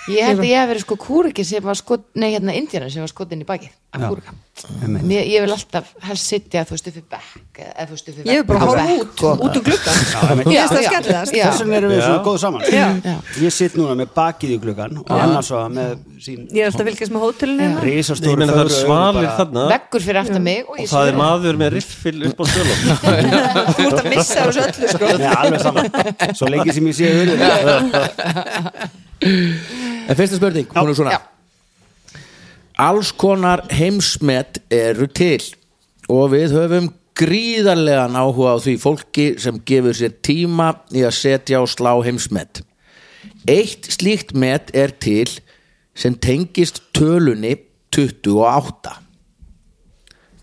C: ég held að ég hef verið sko kúriki sem var skot nei hérna indjana sem var skotin í bakið af
D: Já.
C: kúrika
D: Einmitt.
C: Mér, ég vil alltaf helst sitja þú veist upp í bekk eða eða, þú veist upp í
E: ég er bara
C: á
E: að horfa
C: bekk
E: út, út um gluggan
D: einmitt.
E: ég veist
C: Já,
E: það
C: já.
E: skelliðast
C: Já.
D: Þess vegna erum við
B: Já.
D: svona góð saman
E: Já.
C: Já.
D: Ég sitt núna með bakið í gluggan og annars svo með sín
E: ég er alltaf að fylgjast með hótelinu hérna.
B: Ég
D: risastóru
B: meina það eru
D: fögru augun
B: svalir
D: bara-
B: þarna
C: veggur fyrir aftan mig og
B: og
C: ég
B: það er
C: sit-
B: maður með riffil upp á stjólum
E: þú ert að missa þessu öllu sko
D: Nei, alveg saman Svo lengi sem ég sé hurðina
A: En fyrsta spurning, hún er svona
C: Já.
A: Alls konar heimsmet eru til og við höfum gríðarlega náhuga á því fólki sem gefur sér tíma í að setja og slá heimsmet. Eitt slíkt met er til sem tengist tölunni 28.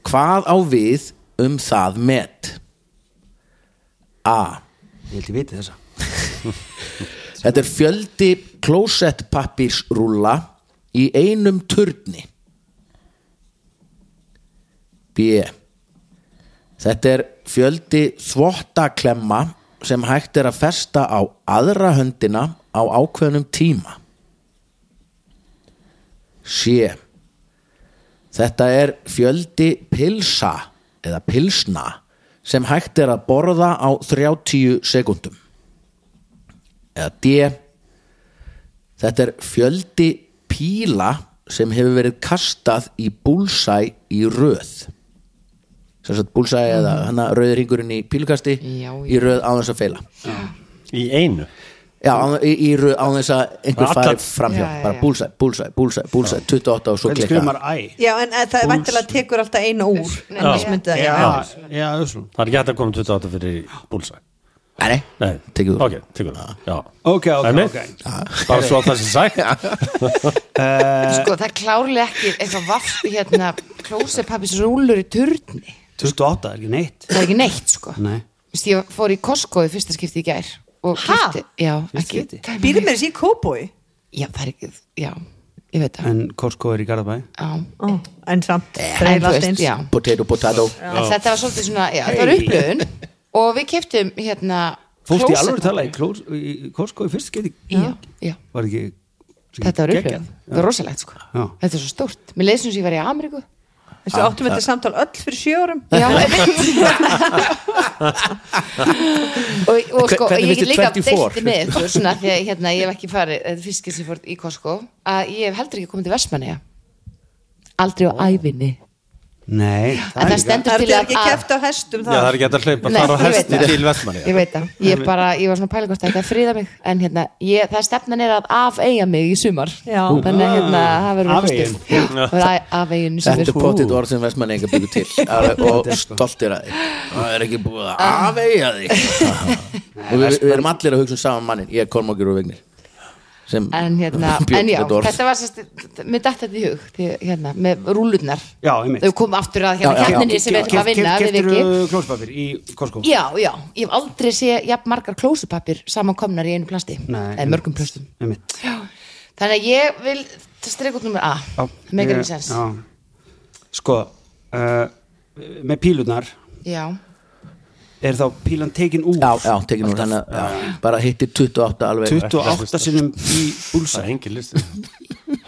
A: Hvað á við um það met? A.
D: Ég held ég viti þessa
A: Þetta er fjöldi klósettpappirsrúlla í einum turni. B. Þetta er fjöldi þvottaklemma sem hægt er að festa á aðra höndina á ákveðnum tíma. C. Þetta er fjöldi pilsa eða pilsna sem hægt er að borða á 30 sekundum. Eða D. Þetta er fjöldi píla sem hefur verið kastað í búlsæ í röð. Sem sagt búlsæ eða hana rauður hringurinn í pílukasti
C: Mm. Já, já.
A: í röð á þess að feila.
F: í einu
A: Já, á, í, í röð á þess að einhver
F: Allar-
A: fari framhjá.
C: Já, já,
A: Bara
C: já.
A: búlsæ, búlsæ, búlsæ, búlsæ, 28 og svo
D: Hvernig
A: klikka.
D: skrifum maður æ?
E: Já, en eh, það væntilega tekur alltaf eina úr en
F: Já.
E: þess myndi það, já,
D: Já, já, Ursula.
F: það er ekki hægt að koma 28 fyrir búlsæ
A: Nei, nei,
F: Nei,
A: tekið úr.
F: Ok, tekur það, já
D: Ok, ok,
F: Dæmi?
D: ok.
F: Bara svo að það sem sagt
C: sko það er klárlega ekki eitthvað vaff hérna klósepappis rúlur í turni
D: 28 er ekki neitt
C: það er ekki neitt sko
D: Nei.
C: Vist, ég fór í Costco í fyrsta skipti í gær og
E: Ha?
C: kipti, já, ekki
D: skipti?
C: dæmi
E: býrðu
C: mig.
E: mér þessi í kóbói
C: já, það er ekki, já, ég veit það
D: En Korsko er í Garðabæ
C: já,
E: Ó, en samt, það er
C: Eh, en þú
E: allt
C: veist,
E: eins
C: já
A: Potato, potato.
C: En þetta var svolítið svona, já, þetta var upplöðun og við kiptum hérna
D: Fórst í
C: klósett-
D: alveg tala í, klós, í Korsko í fyrst geti
C: já, já,
D: Var ekki
C: þetta var
D: geggjað?
C: upplöðun það var rosalegt sko,
D: Já.
C: þetta er svo stórt mér leysum sem ég var í Ameríku
E: Þessu áttum við þetta samtal öll fyrir sjö árum
C: Já, og, og
A: Hver-
C: sko,
A: hvernig
C: ég
A: finnst
C: get
A: þér
C: líka
A: 24?
C: deilti með ykkur svona því að hérna, ég hef ekki farið þetta er fiskir sem fór í Costco að ég hef heldur ekki komið til Vestmanneja aldrei á ævinni
D: Nei,
C: en það
E: Það
C: stendur
E: er
C: til
E: þetta ekki keft á hestum
B: Já, það
E: það
B: er ekki hægt að hlaupa
C: Nei,
B: fara á
C: ég veit
B: hesti
C: það.
B: til Vestmanni
C: ég veit það, ég, bara, ég var svona pælingvort að þetta friða mig en hérna, ég, það stefnan er að afeiga mig í sumar
E: Já.
C: þannig að hérna, það verður
D: Afeigin.
C: fyrst það verður afegin í
A: Þetta
C: sumar
A: er potið orð sem Vestmanninga byggur til Alveg, og stoltir að þig það er ekki búið að afeyja þig og við, við erum allir að hugsa um saman mannin ég er Kormákir og Vignir sem
C: en hérna,
A: bjó
C: en
A: til
C: já,
A: þetta orð.
C: þetta var sérst, mér datt þetta í hug, því, hérna, með rúlurnar
D: Já, einmitt.
C: þau kom aftur að
A: Já,
C: hérna
A: já.
C: kjarninni sem er að vinna við
D: Keftur
C: ekki,
D: klóspapir í Korsko
C: já, já ég hef aldrei sé jafn margar klósupapir samankomnar í einu plasti,
D: Nei.
C: eða mörgum plastum
D: Einmitt
C: já, þannig að ég vil streka út nummer A,
D: Já,
C: það meikar
D: ég-
C: ekki sens
D: já. Sko uh, Með pílunar
C: já.
D: Er þá pílan tekin úr
A: já, já, tekið nú þannig að- já, bara hittir 28 alveg
D: 28 sinnum í búlsa
F: Það er engin listi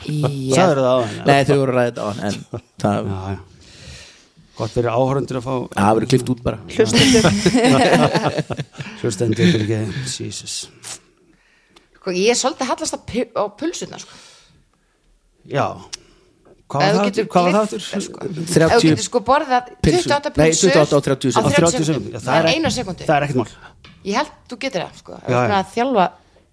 C: Já.
D: Sæður það á henni
A: nei þau voru ræðið á hann en það
D: Já, já Gott fyrir áhorundur að fá
A: það hafa verið klift út bara
D: Hlustendur ekki Jesus
C: Sko, ég er svolítið hallast á, pu- á pulsuna sko.
D: Já Hvað
C: Ef
D: var
C: þú
D: það
C: getur
D: aftur? Hvað var það
C: gleypt
D: aftur?
C: þær, sko. Ef þú
A: 30
C: getur sko borðað
A: pylsur.
C: 28
A: Nei,
C: pulsur
A: 28 á 30
C: á
A: sekúndum.
C: 30
D: Já,
C: sekundum
D: það
C: Það er
D: er-
C: eina sekundu
D: Það er ekkert mál
C: Ég held þú getur það sko.
D: Já,
C: já,
D: já.
C: að þjálfa,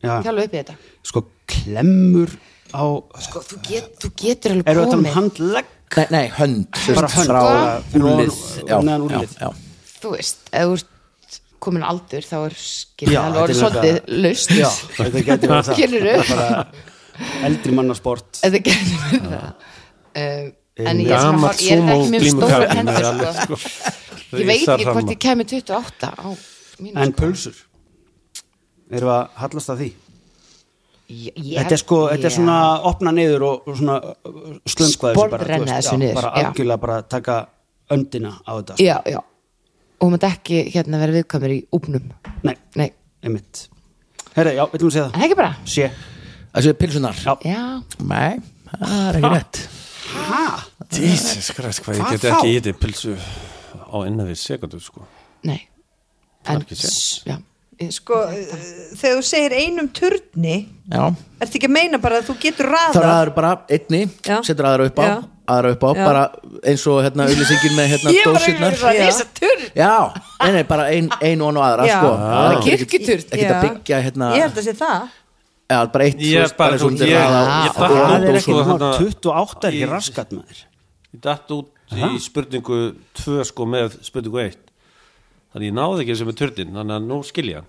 D: Já.
C: þjálfa upp í þetta
D: Sko klemmur á
C: sko, þú, get, þú getur alveg
D: Eru þetta um
C: komið Sko,
D: handlegg?
A: nei, nei hönd sem
D: Bara
A: sagt,
D: hönd. Bara
A: frá
D: fyrir
A: úlið
D: ofan-
A: já,
D: neðan
A: já,
D: úlnlið.
A: já.
C: þú veist, ef þú ert komin á aldur þá er
D: Já,
C: skilja alveg orðið
D: þetta er
C: svolítið laust
D: Já, þetta getur verið það
C: Skilurðu?
D: Þetta er bara Eldri manna sport
C: eða getur verið það um, en ég er svona
B: Gammal
C: hár- ég er ekki með stóra hendur sko.
B: sumo
C: ég veit ekki hvort ég kemur 28 á mínu
D: En pulsur Erum við að hallast að því?
C: Ég- ég-
D: Þetta er sko, þetta er
C: Já.
D: svona opna niður og, og svona uh, slöngva þessu bara, þú
C: Sporðrenna
D: veist,
C: þessu
D: já,
C: niður,
D: bara
C: já.
D: algjörlega bara taka öndina á þetta sko.
C: já, já og maður ekki hérna vera viðkamir í úpnum
D: Nei,
C: nei,
D: einmitt Herra, já, villum við segja
C: en það ekki bara
D: það Sé,
A: þessu er pilsunar
D: Já.
C: já,
A: nei, það er ekki rétt
B: Jesus Christ, hvað ég
D: Hvað
B: get
D: þá?
B: ekki í þetta pilsu á innan við sekundu sko.
C: nei en,
B: ekki séns.
C: s- já, ég-
E: Sko, eh, þegar þú segir einum turni
A: já
E: ertu ekki að meina bara að þú getur
A: þá
E: raða
A: ræður bara einni,
E: Já.
A: setur aðra upp á
E: Já.
A: aðra upp á,
E: Já.
A: bara eins og hérna auðlýsingin með hérna
C: ég var
A: dósirnar
C: auðvitað að
E: Já.
C: lesa turn
A: já, nei, nei, bara ein, ein og aðra
E: Já.
A: sko,
E: Já.
A: Það er ekki-
C: Kirkjuturn.
A: ekkert að
E: Já.
A: byggja hérna,
E: ég held að sé það
A: já, bara eitt
B: Ég
A: þú
B: er bara,
A: eins og
B: þú-
A: þetta
B: ég-
A: raða á-
B: ég
A: á-
B: datt
A: á- á-
D: það er
B: út
A: dósunum.
D: ekkert mál,
B: þarna-
D: 28 er
B: Í-
D: ekki raskat maður
B: Ég datt út í spurningu 2 sko með spurningu 1 Þannig ég náði ekki þessu með törnin Þannig að nú skilja hann,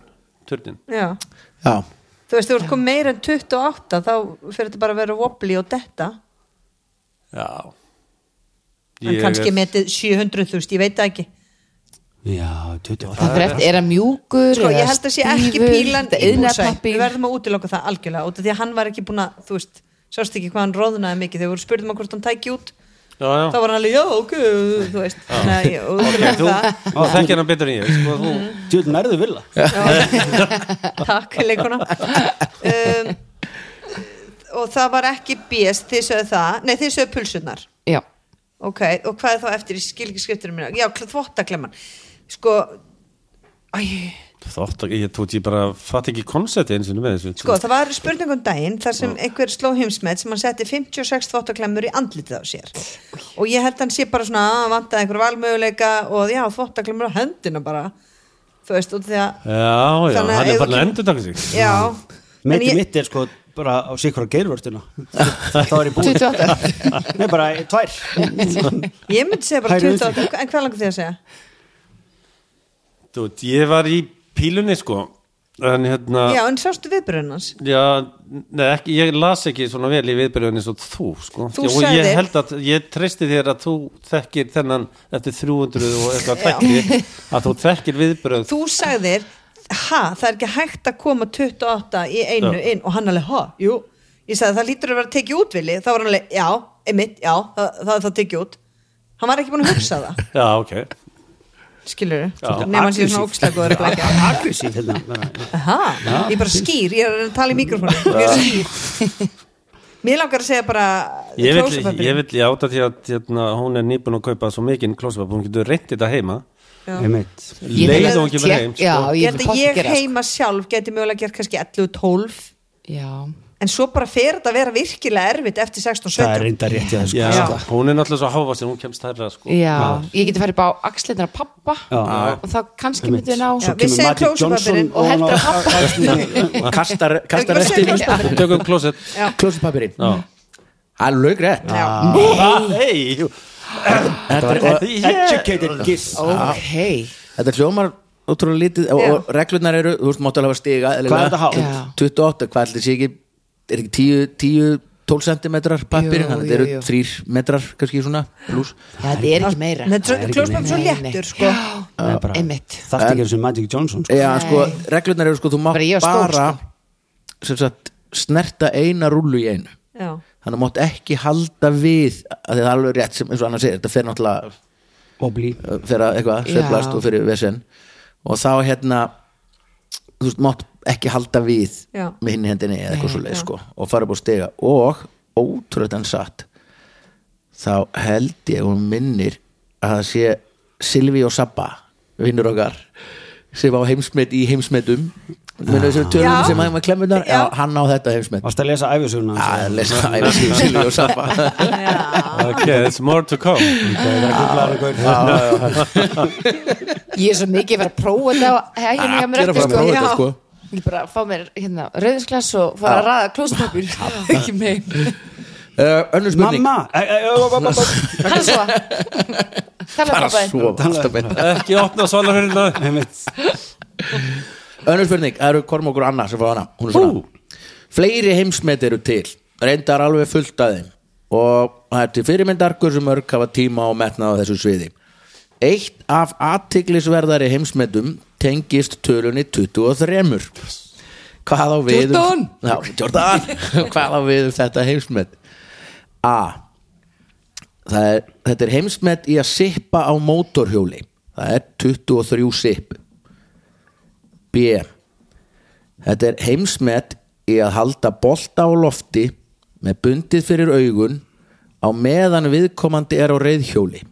B: törnin
E: já.
A: já,
E: þú veist, þú ert komið meira en 28 þá fyrir þetta bara að vera wobbly og detta
B: Já
E: en kannski metið 700.000, ég veit það ekki
D: Já, 28
C: Það fyrir eftir, er það mjúkur
E: sko,
C: eða
E: ég held að sé ekki
C: stífur,
E: pílan
C: þetta
E: í búsæ
C: iðnaðarpappír?
E: við verðum að útiloka það algjörlega út af því að hann var ekki búin að, þú veist sást ekki hvað hann roðnaði mikið, þegar við spurðum hann hvort hann tæki út
B: Já, já
E: þá var hann alveg, já, ok, þú veist þannig að ég útiloka það
B: Ó, þekki hana betur en ég sko, þú,
D: Tjóðin nærðu vilja
E: Takk, leikuna um, Og það var ekki BS, þið sögðu það Nei, þið sögðu pulsunar
C: Já,
E: ok, og hvað er þá eftir í skilgiskriptunum minna? Já, þvottaklemman sko, æ,
F: Þótt, ég tótt ég bara fatt ekki koncepti eins og með þessu
E: sko, það var spurning um daginn þar sem einhver sló heimsmet sem hann setti 56 þvottaklemmur í andlitið á sér og ég held hann sé bara svona að vantaði einhver valmöguleika og já, þvottaklemmur á höndina bara þú veist, út af því að
F: Já, já,
E: Þannig að
F: hann
E: ef
F: er
E: þú
F: bara að
E: kemur-
F: endur taka sig
E: já, en
D: Meiti
E: ég,
D: mitt er sko bara á sikra geirvörtuna þá er ég búin
C: 28
D: Nei, bara tvær
E: ég myndi segja bara
D: Hægri
E: 20 en hvað langar því að segja?
F: Þú veit, ég var í pílunni sko En hérna
E: Já, en sástu viðbröðin hans
F: Já, nei, ekki, ég las ekki svona vel í viðbyrjunni svo þú, sko
E: Þú
F: og ég
E: sagðir-
F: held að, ég treysti þér að þú þekkir þennan eftir 300 og eitthvað þekki að þú þekkir viðbyrjun
E: þú sagðir ha, það er ekki hægt að koma 28 í einu
F: Já.
E: inn og hann alveg ha, jú ég sagði það lítur að vera að tekið út vilji þá var hann alveg, já, einmitt, já það, það er það tekið út hann var ekki búin að hugsa það,
F: Já, ok,
E: skilur nema hann sé svona ógslagóður að blækja
D: aggressív hérna bara.
E: ha, ég er bara skýr, ég er að reyna að tala í mikrofónu mjög skýr mér langar að segja bara
F: ég vil,
E: klósapapírinn.
F: ég vil, ég átta því að hérna, hún er nýbúin að kaupa svo mikinn klósapap hún getur reynt þetta heima
D: Einmitt.
C: Ég
F: leið
C: held að
F: og hún kemur
C: tek-
F: heim
C: Já,
F: sko.
E: ég,
C: ég
E: held
C: vil
E: að
C: ég
E: ég
C: gera sko.
E: heima sjálf geti mögulega gert kannski 11-12
C: Já,
E: en svo bara fer þetta að vera virkilega erfitt eftir
D: það er
E: 16-17
D: reynda rétt í það sko.
F: Já,
E: Já.
F: hún er náttúrulega svo hávaxin, hún kemst hærra sko.
C: já Ég geti farið bara á axlindar af pappa
D: Já.
C: og þá kannski myndi við ná
E: Já, við segjum
D: Magic Johnson
E: klósapapirinn
C: og
D: ofan á-
C: heldur að pappa
A: kastar,
E: Ekki
A: kastar
E: bara segja
A: restin
E: klósapapírinn.
F: tökum klósett
A: klósupapirinn
F: Já.
A: það er lögrétt
E: Já.
F: hey, jú.
A: þetta, er- og-
D: educated giss
C: Ok,
A: þetta hljómar ótrúlega lítið og,
E: Já.
A: og reglurnar eru, þú veist, máttalega að stiga
D: Hvað er þetta hátt?
C: Já.
A: 28, hvað ætlir sé ekki er ekki 10, 10 12 centimetrar pappirinn,
C: Jú,
A: þannig að þetta
C: jú,
A: eru
C: jú.
A: 3 metrar kannski svona, pluss
C: það er ekki meira
E: klósmann svo
C: Nei, nei.
E: léttur sko.
C: Já, einmitt
D: það er ekki eins og Magic Johnson sko.
A: Já,
C: Nei.
A: sko, reglurnar eru sko, þú mátt
C: Bara ég
A: bara,
C: og stór, sko.
A: sem sagt, snerta eina rullu í einu
E: Já.
A: þannig að mátt ekki halda við að því það er alveg rétt sem eins og annars segir þetta fer náttúrulega,
D: og blí
A: uh, fer að eitthvað
C: Já.
A: sveiflast og fyrir vesen og þá hérna þú veist, mátt ekki halda við
E: Já.
A: með hinn í hendinni eða eitthvað
C: Nei,
A: svo leið sko og fara upp á stiga og ótrúlega en satt þá held ég og minnir að það sé Silvi og Sabba vinnur okkar sem á heimsmet í heimsmetum minnum við sem tölum
E: Já.
A: sem hann var klemmunar já,
E: Já.
A: hann á þetta heimsmet
D: varst að lesa æfisuguna
A: að lesa æra Silvi og Sabba
F: ok, there's more to come
C: Ég er svo mikið að vera að prófa þetta að hérna hjá mér
A: Allir að
C: eftir
A: fara að prófa
C: sko.
A: þetta,
C: Já.
A: sko.
C: Ég vil bara fá mér hérna rauðinsglas og fara að ræða klóstapir Ekki megin
A: uh, önnur spurning
D: mamma Æ, æ, ó, ó, ó, ó, ó.
C: Hann svo Tala
A: bara
C: pappa
A: svo alltaf beint.
F: ekki opna svalarhörina
D: Einmitt.
A: önnur spurning, það eru Kormokur Anna sem fá hana hún er svona fleiri heimsmet eru til reyndar alveg fullt að þeim og það er til fyrirmyndar hversu mörg hafa tíma og metnað á þessu sviði eitt af athyglisverðari heimsmetum tengist tölunni 23 hvað á við um,
C: Jordan!
A: já, Jordan hvað á við um þetta heimsmet A Það er, þetta er heimsmet í að sippa á mótorhjóli það er 23 sipp B þetta er heimsmet í að halda bolta á lofti með bundið fyrir augun á meðan viðkomandi er á reyðhjóli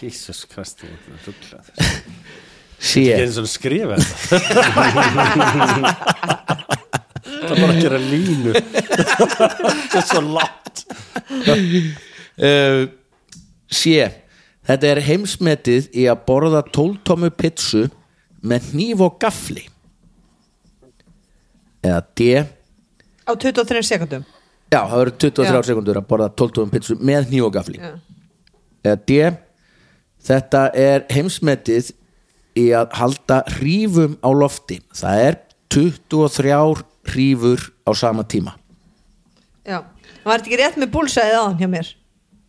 F: Jesus Christ, þú ert rugglað
A: C
F: Ég er eins og skrifa þetta Það er bara að gera línu Það er svo látt
A: uh, C þetta er heimsmetið í að borða tóltómu pitsu með hníf og gafli eða D
E: á 23 sekundum
A: já það eru 23
E: Já.
A: sekundur að borða tóltómu pitsu með hníf og gafli
E: Já.
A: eða D þetta er heimsmetið í að halda hrífum á lofti það er 23 hrífur á sama tíma
E: Já. var þetta ekki rétt með búlsæðið aðan hjá mér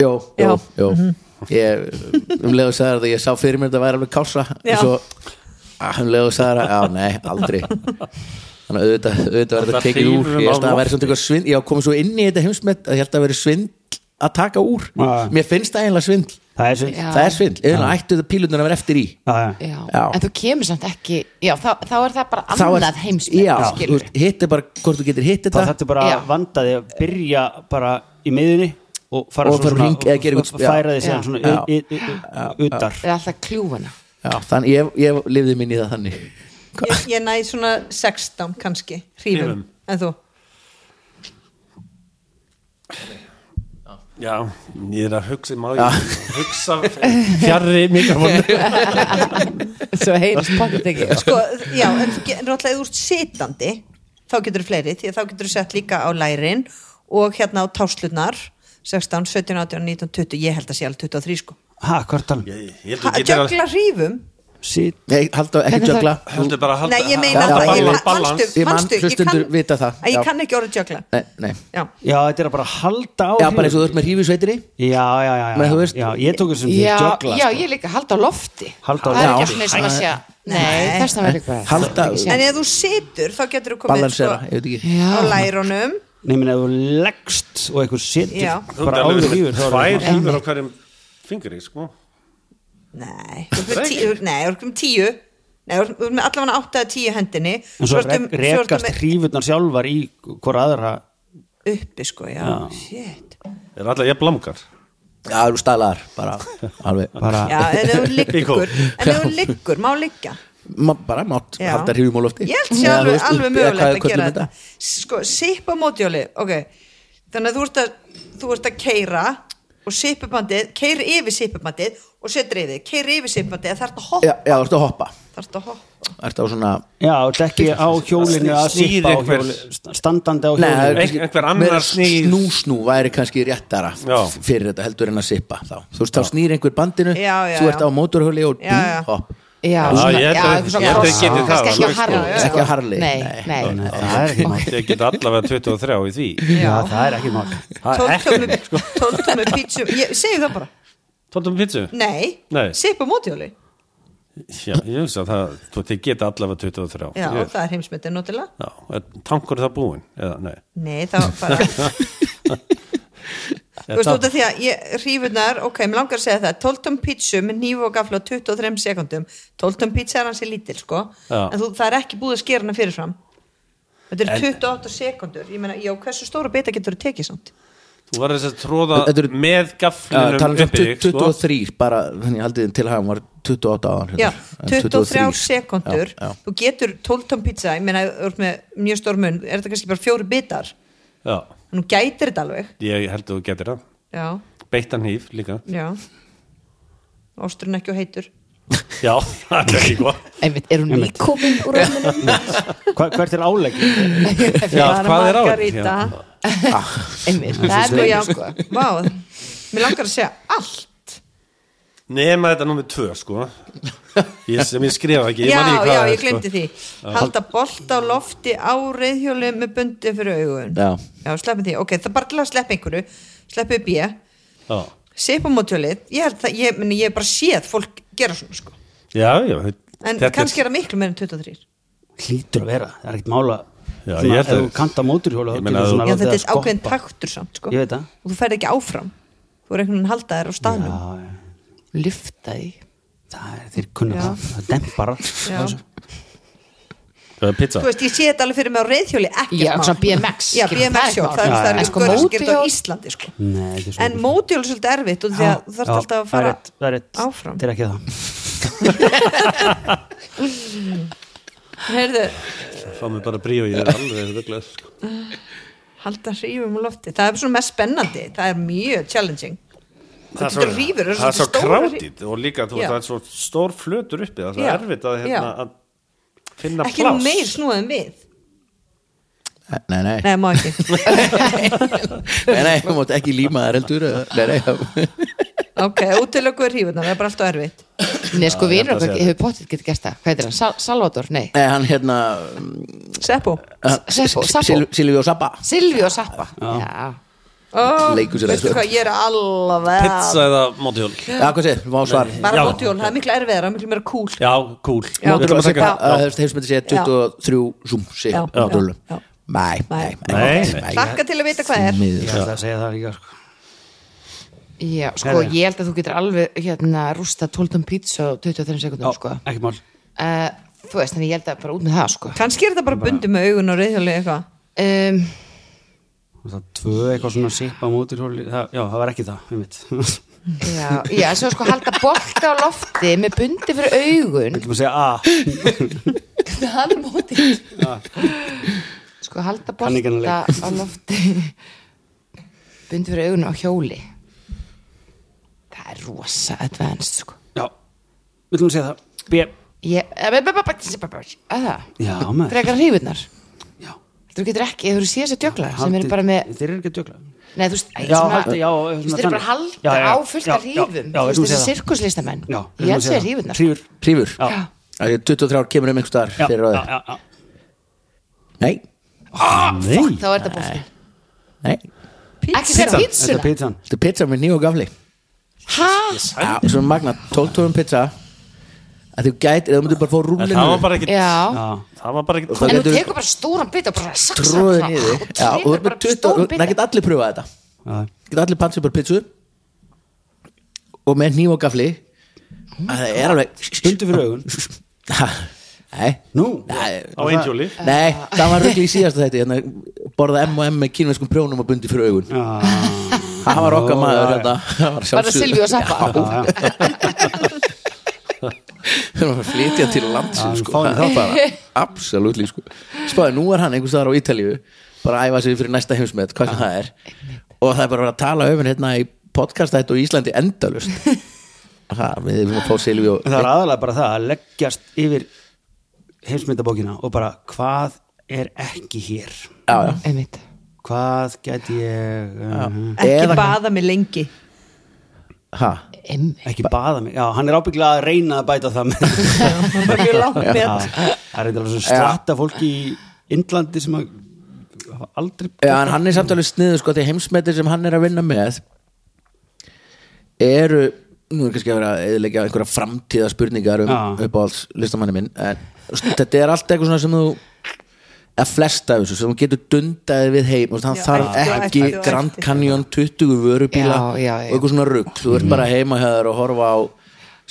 A: Jó,
E: Já. Mhm.
A: jó, jó Ég, um leiðu sagði það, ég sá fyrir mér þetta væri alveg kása
E: Já.
A: og svo, ah, um leiðu sagði það, já, nei, aldrei Þannig að auðvitað, auðvitað var þetta
F: Það
A: tekið úr
F: hrífur
A: Ég
F: á
A: held að það væri
F: lofti.
A: svona eitthvað svindl Ég komið svo inn í þetta heimsmet að ég held að það væri svindl að taka úr
D: Já.
A: Mér finnst það eiginlega svindl
D: það er svo
C: Já.
A: Það er svindl, eða ættu það pílunar að vera eftir í
D: Já, já.
C: Já.
A: Já.
C: En þú kemur samt ekki Já, þá, þá er það bara
A: Þá er-
C: annað heimsmet
A: Já, þú
C: skilur.
A: veist, hitt er bara hvort þú getur hitt
D: þá
A: þetta
D: þetta bara
C: Já.
D: vandaði að byrja bara í miðunni og fara
A: Og fara
D: svona-
A: hring eða gera
D: og-
A: eitthvað-
D: og færa því
C: Já.
D: síðan svona
A: Já.
D: u- u- u- utar
C: eða alltaf kljúfana
A: já, þannig ég, ég lifði minni í það þannig
E: ég, ég næ svona 16 kannski hrífum,
F: Hrífum.
E: en þú
F: Já,
B: Ég er að hugsa, má ég hugsa fjarrri mikrofónu
C: svo heyrist pottet ekki
E: sko, já, en þú ge- en náttúrulega ef þú ert sitandi þá getur þú fleiri, því að þá getur þú sett líka á lærin og hérna á táslunar 16, 17, 18, 19, 20 ég held að sé alveg 23 sko
D: ha, hvað er talum?
B: Ég ég held
E: Ha,
B: að geta að
E: jökla hrífum
D: Sitt,
A: Nei, halda ekki
C: Hvernig það-
A: jökla
B: Heldur bara að halda
E: nei, ég meina
A: Já,
E: það,
A: já,
E: ég,
A: balans,
E: manstu, manstu,
A: Ég man,
E: ég kann,
A: hlustendur vita það,
E: að
A: já.
E: ég kann ekki orðið jökla
A: Nei, nei,
E: já,
D: já, þetta er að bara halda á
A: já, bara eins og
D: hringnum.
A: þú ert með hrífisveitinni
D: já, já, já,
A: Men þú
D: já,
A: veist-
D: já, ég tók þessum fyrir
C: já,
D: jökla
C: já,
D: sko.
C: ég líka halda á lofti
D: Halda á
C: það er ekki
A: lofti.
C: allir sem að sé nei,
E: Nei.
C: þess að vera eitthvað
A: Halda-
C: Ekki
E: en
C: séð.
E: ef þú situr þá getur þú komið sko,
A: Balansera, ég veit ekki
E: á
C: já,
E: lærunum
D: Nei, minn, ef þú leggst og eitthvað setur
E: Já.
D: bara áður lífur þá er
B: Tvær
D: það-
B: hýfur á hverjum fingri, sko
E: Nei, þú ert með tíu, nei, þú ert með tíu Nei, þú ert með allavega átta að tíu hendinni
D: en svo
E: ertu-
D: rek-
E: ertu
D: rekast
E: með-
D: hrífurnar sjálfar í hvora aðra
E: uppi sko, já,
D: Já.
E: shit
B: Er alltaf ég blangar
A: Já, þú stælaðar, bara alveg
D: bara,
E: Já, en ef hún liggur En ef hún liggur, má liggja
A: Ma, Bara mátt
E: Já.
A: halda hrífum á lofti
E: Ég held sé
A: Eða, þú
E: alveg,
A: veist,
E: alveg
A: upp- eða hvað
E: mögulegt að
A: köllum
E: gera þetta Sko, sipp á mótjóli, ok Þannig að þú ert að, þú ert að keira og sippubandið, keir yfir sippubandið og setur yfir, keir yfir sippubandið þarf
A: Já,
E: að hoppa,
A: já, þú ert að hoppa
E: þarf að hoppa
A: Ert á svona
D: já, þetta ekki á hjólinu að
B: Snýr
D: sippa á
B: einhver-
D: hjólinu standandi á
A: Nei, það er
D: hjólinu
A: kannski-
B: Ein- einhver annar
A: meira
B: snýr-
A: Snú-snú væri kannski réttara f-
B: Já.
A: fyrir þetta heldur en að sippa þá Þú veist, þá snýr einhver bandinu
E: Já, já,
A: Þú ert
E: já.
A: á mótorhjóli og
E: Já, já.
A: dú, hopp
C: já,
B: Já, ég held að-
C: eitthvað
B: ég
C: svona
B: held að
C: kross-
B: ég geti það,
C: kannski ekki
B: alveg,
C: á harli
E: sko.
C: sko.
A: Ekki á harli,
C: nei,
A: nei.
C: nei,
D: Nei, það er ekki mál
B: Ég get allavega 23 í því
D: já, það er ekki mál
E: tóltum með pítsum, ég segi það bara
B: Tóttum pítsu?
E: Nei,
B: Nei.
E: sipp á mótjóli
B: Já, ég hugsa að það, þú þið geta allavega 23
E: Já,
B: Ég-
E: það er heimsmyndin notilega
B: Já, er tankur það búin? Eða, nei
E: Nei, það var bara Þú veist út af því að ég hrífurnar, ok, mér langar að segja það 12 tón pítsu með nýfu og gafla á 23 sekundum 12 tón pítsa er hansi lítil, sko
B: Já.
E: en þú, það er ekki búið að skera hana fyrirfram Þetta eru 28 sekundur Ég meina, já, hversu stóra bita getur þú tekið samt?
B: Þú var þess að tróða
A: Þetta eru-
B: með
A: Já,
B: gaflinum
F: um
A: talum
B: uppi
A: sem
B: þig, sko.
A: 23 bara, þannig haldið til að hann var 28 áðan
E: Já,
A: hérna, en
E: 23 sekundur
A: já, já.
E: Þú getur 12 tón pítsa, ég meina þú ert með mjög stór mun, er þetta kannski bara fjóri bitar
B: Já,
E: en hún gætir þetta alveg
B: ég held að þú getur það
E: Já,
B: Beittan hýf líka
E: já Ásturinn ekki og heitur
B: Já, það er ekki gott
C: Einmitt, er hún nýkomin úr rauninum
D: Hva- hvert er álegg?
B: Já, hvað er á hérna?
E: Margarita
B: Já.
C: Einmitt, það er
E: sko, já,
C: mjög sko
E: vá, mér langar að segja allt
B: Nema þetta nummer 2 sko ég, sem ég skrifa ekki ég
E: já,
B: man ekki hvað
E: já,
B: það er, sko.
E: ég glemdi því halda bolt á lofti á reyðhjóli með bundi fyrir augun
A: Já.
E: já sleppum því, ok, það er bara til að sleppa einhverju sleppu upp ég,
B: sko.
E: sipa mótjólið ég held það, ég, meni, ég hef bara séð fólk gera svona sko,
B: Já, já, já
E: en kannski er það miklu meira en 23
D: hlýtur að vera, það er ekkert mála
B: Já,
D: svona,
B: ég
D: ef
B: held að-
D: þú kanta móturhjóla
B: Ég meina að-
E: já, þetta er ákveðin taktur samt sko
D: Ég veit það.
E: og þú ferð ekki áfram, þú er einhvern veginn að halda þér á staðnum
C: lyfta því
D: það er þeir kunna
E: Já.
D: það, það dempar allt.
E: Já.
B: Pizza
E: þú veist, ég sé þetta alveg fyrir mig á reyðhjóli ekkert
C: Já,
E: mál.
C: svona BMX, skilur,
E: já,
C: það er
E: BMX
C: ekki
E: sjó,
C: mál.
E: það er- það er
C: En sko,
E: sko mótjól á
C: mótorhjól-
E: Íslandi sko.
D: Nei, þetta er svo-
E: en mótjól er svolítið erfitt og því að þú þarf
D: Já,
E: alltaf
D: það
E: að
D: er
E: fara
D: rétt, það er rétt.
E: áfram.
D: þetta er ekki það
E: heyrðu,
B: Fá mig bara brí og ég er alveg rugglað sko.
E: halda hrífum á lofti það er svona mest spennandi, það er mjög challenging
B: Það er
E: getur
B: svo-
E: rífur, það er
B: það er svo
E: svolítið stórar-
B: krátið og líka þú
E: Já.
B: veist það er svo stór flötur uppi það er svo
E: Já,
B: erfitt að,
E: já.
B: hérna, að finna
E: ekki nú
B: pláss
E: meir snúðum við
A: Nei, nei, nei,
E: nei, má ekki,
A: nei, þú mátt ekki líma þær heldur eða- Nei, nei, já.
E: ok, útilöku er hrífurnar það er bara alltaf erfitt
C: Nei, sko,
B: ég held
C: vinur
B: að
C: okkar
B: sé
C: hefur pottet getið gert það Hvað heitir hann? Sal Salvador? Nei,
A: Nei, hann hérna
E: seppo,
C: Seppo, Sappo.
A: Silvi og Sappa
C: Silvi og Sappa Já,
E: oh,
A: Leikur sér að
E: veistu
A: þessu.
E: hvað, ég er alveg
B: Pizza eða mótihjól
A: Já, hvað séð, vá svar
E: bara
B: Já.
E: mótjól, það er miklu erfiðara, miklu meira cool
B: Já, cool
E: Já.
A: Þú ætlum að
E: Já.
A: segja að heimsmyndi segja 23 zoom sig
E: Já.
A: á rullu
E: Já.
A: Nei, nei,
E: Nei.
B: Nei, nei.
E: Hlakka til að vita hvað er
A: Miður.
D: ég ætla að segja það líka sko.
C: Já, sko,
D: Herra.
C: ég held að þú getur alveg hérna rústa 12 pizza á 23 sekundum, sko
D: ekki mál
C: uh, Þú veist, þannig ég held að bara út með það, sko
E: kannski er þetta bara bundið með augun og reyðhjóli eitthvað
C: um,
D: Og það tvö eitthvað svona sipa móturhjóli það, já, það var ekki það, einmitt ekki
C: Já, já, svo sko halda bolta á lofti með bundi fyrir augun
D: maður segja a,
C: hann er mótið sko halda bolta
D: Kannikanaleik.
C: á lofti bundi fyrir augun á hjóli það er rosa advanced sko
D: já við ætlum að segja það, b,
C: ég, eh, að það
D: já maður
C: frekar hrífurnar
D: já,
C: þú getur ekki, þú séð þess að djökla sem eru bara með,
D: þeir eru ekki að djökla
C: nei þú veist æ,
D: Já,
C: svona-
D: halda- já,
C: þú veist, þeir eru bara að
D: þannig.
C: halda
D: Já, já,
C: á fullt af
D: já, já,
C: hrífum þú
D: já, við skulum
C: veist þessi
D: segja það.
C: sirkuslistamenn
D: já,
C: ég held sér hrífurnar
D: hrífur
A: Hrífur
D: já,
C: Já.
A: Það er 23 ár kemur um einhver staðar
D: já,
A: fyrir
D: já,
A: öður
D: já, já.
A: Nei,
D: Ah, Nei.
C: þá er þetta bolti,
A: nei
C: ekki sér
D: þetta er
C: pítsuna
D: pizzan
A: Þetta er pizza með nýju og gafli
C: hæ?
A: Já, Svo magna, 12 tónum pizza að þú gætir, þú myndir bara fá
F: En það var
A: rúlinu
F: bara ekkit
C: já
D: já,
F: það var bara ekkit
A: Það
C: En þú
A: getur-
C: tekur bara stóran bit og bara saksa
A: tróðið
C: svona,
A: niður
C: og
A: Já, og þú
C: tekur
A: ert með
C: bara
A: 20,
C: stóran
A: og- það
C: bit
A: get allir pröfað þetta
D: já,
A: get allir pansið bara pizzu og með nýju og gafli að það er alveg
D: bundi fyrir augun
A: Ha, Nei
D: nú,
A: Nei,
F: á einhjóli
A: Nei, það var rugl í síðasta þetta hérna, borða M&M með kínveskum prjónum og bundi fyrir augun
D: já
A: það var okkar
D: Ó,
A: maður
D: já, já.
A: hérna, það var
C: Bara
A: sjálfsögð-
C: Silvíu og Sappa
D: já, já,
A: Þeir eru að flytja til
D: Já,
A: landsins sko.
D: fáum
A: Það er bara absolutt sko. Spáði, nú er hann einhvers staðar á Ítalíu bara að æfa sig fyrir næsta heimsmet hvað sem það er og það er bara að vera að tala um hann hérna í podcastættu í Íslandi endalust Það, við erum að fá Silvi og
D: það er aðalega bara það að leggjast yfir heimsmyndabókina og bara hvað er ekki hér
A: já, já.
C: Einmitt
D: hvað get ég uh,
E: ekki
A: Eða-
E: baða mig lengi
A: Ha,
C: Einmitt
D: ekki baða mig, já, hann er ábygglega að reyna að bæta það með
E: það er mjög langt með
D: Já, það er eitthvað svona strata fólki í Indlandi sem að hafa aldrei
A: já, en hann er samt alveg sniður sko, því heimsmetir sem hann er að vinna með eru nú er kannski að vera að eðilegja einhverja framtíða spurningar um
D: Já.
A: uppáhalds listamanni minn en sko, þetta er allt eitthvað svona sem þú eða flest af þessu sem þú getur dundaði við heim og hann
E: Já,
A: þarf
E: ættu og
A: ekki
E: ættu og
A: Grand
E: ættu.
A: Canyon 20 vörubíla
C: Já, já, já.
A: og eitthvað svona rugg þú ert bara heima hefur og horfa á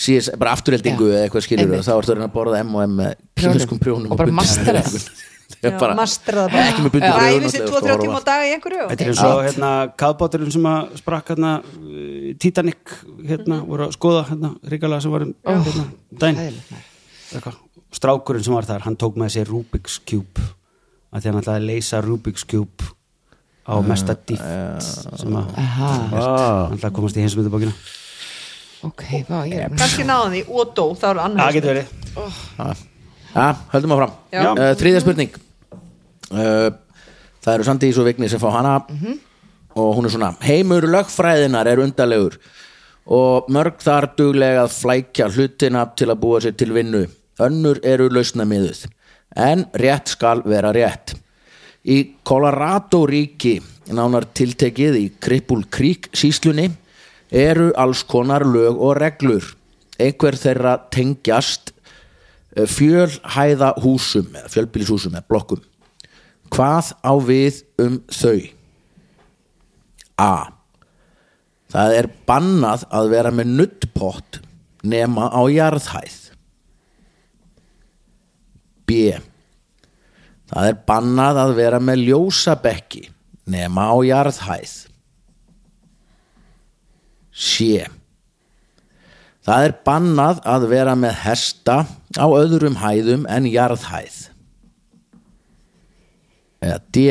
A: CS, bara afturheldingu
C: Já,
A: eða eitthvað skilur
C: einmitt.
A: og þá ertu að reyna að borða M&M með kynlöskum prjónum
C: Og bara
A: bundið
C: mastera
A: fyrir augun. Það er bara-
E: mastraða bara
A: Ekki með bundi fyrir augun,
E: ræfi sér
A: náttúrulega,
E: 2-3
A: sko,
E: tíma á dag í einhverju
D: Þetta er eins og hérna kaðbáturinn sem að sprakk hérna uh, Titanic hérna,
C: Mhm.
D: voru að skoða hérna ríkala sem var um hérna, dæn
C: Hræðilegt, maður.
D: Eitthvað. Strákurinn sem var þar, hann tók með sér Rubik's Cube að því hann ætlaði að leysa Rubik's Cube á mesta dýft sem að
C: Aha,
D: hann ætlaði að komast í heimsmyndabókina
C: ok, vá, ég er
E: kannski náðan því og dó, þá er
D: Það
E: annar
D: Ah, getur verið
A: Já, ja, höldum áfram
E: Já.
A: uh, Þriðja spurning uh, Það eru Sandís og Vigni sem fá hana
E: Mhm.
A: og hún er svona Heimur lögfræðinar er undalegur og mörg þar duglega að flækja hlutina til að búa sér til vinnu Önnur eru lausnamiðuð en rétt skal vera rétt Í Colorado ríki nánar tiltekið í Cripple Creek síslunni eru alls konar lög og reglur einhver þeirra tengjast Eh, fjölhæða húsum eða fjölbýlishúsum eða blokkum hvað á við um þau A það er bannað að vera með nuttpott nema á jarðhæð B það er bannað að vera með ljósabekki nema á jarðhæð C Það er bannað að vera með hesta á öðrum hæðum en jarðhæð. Eða D.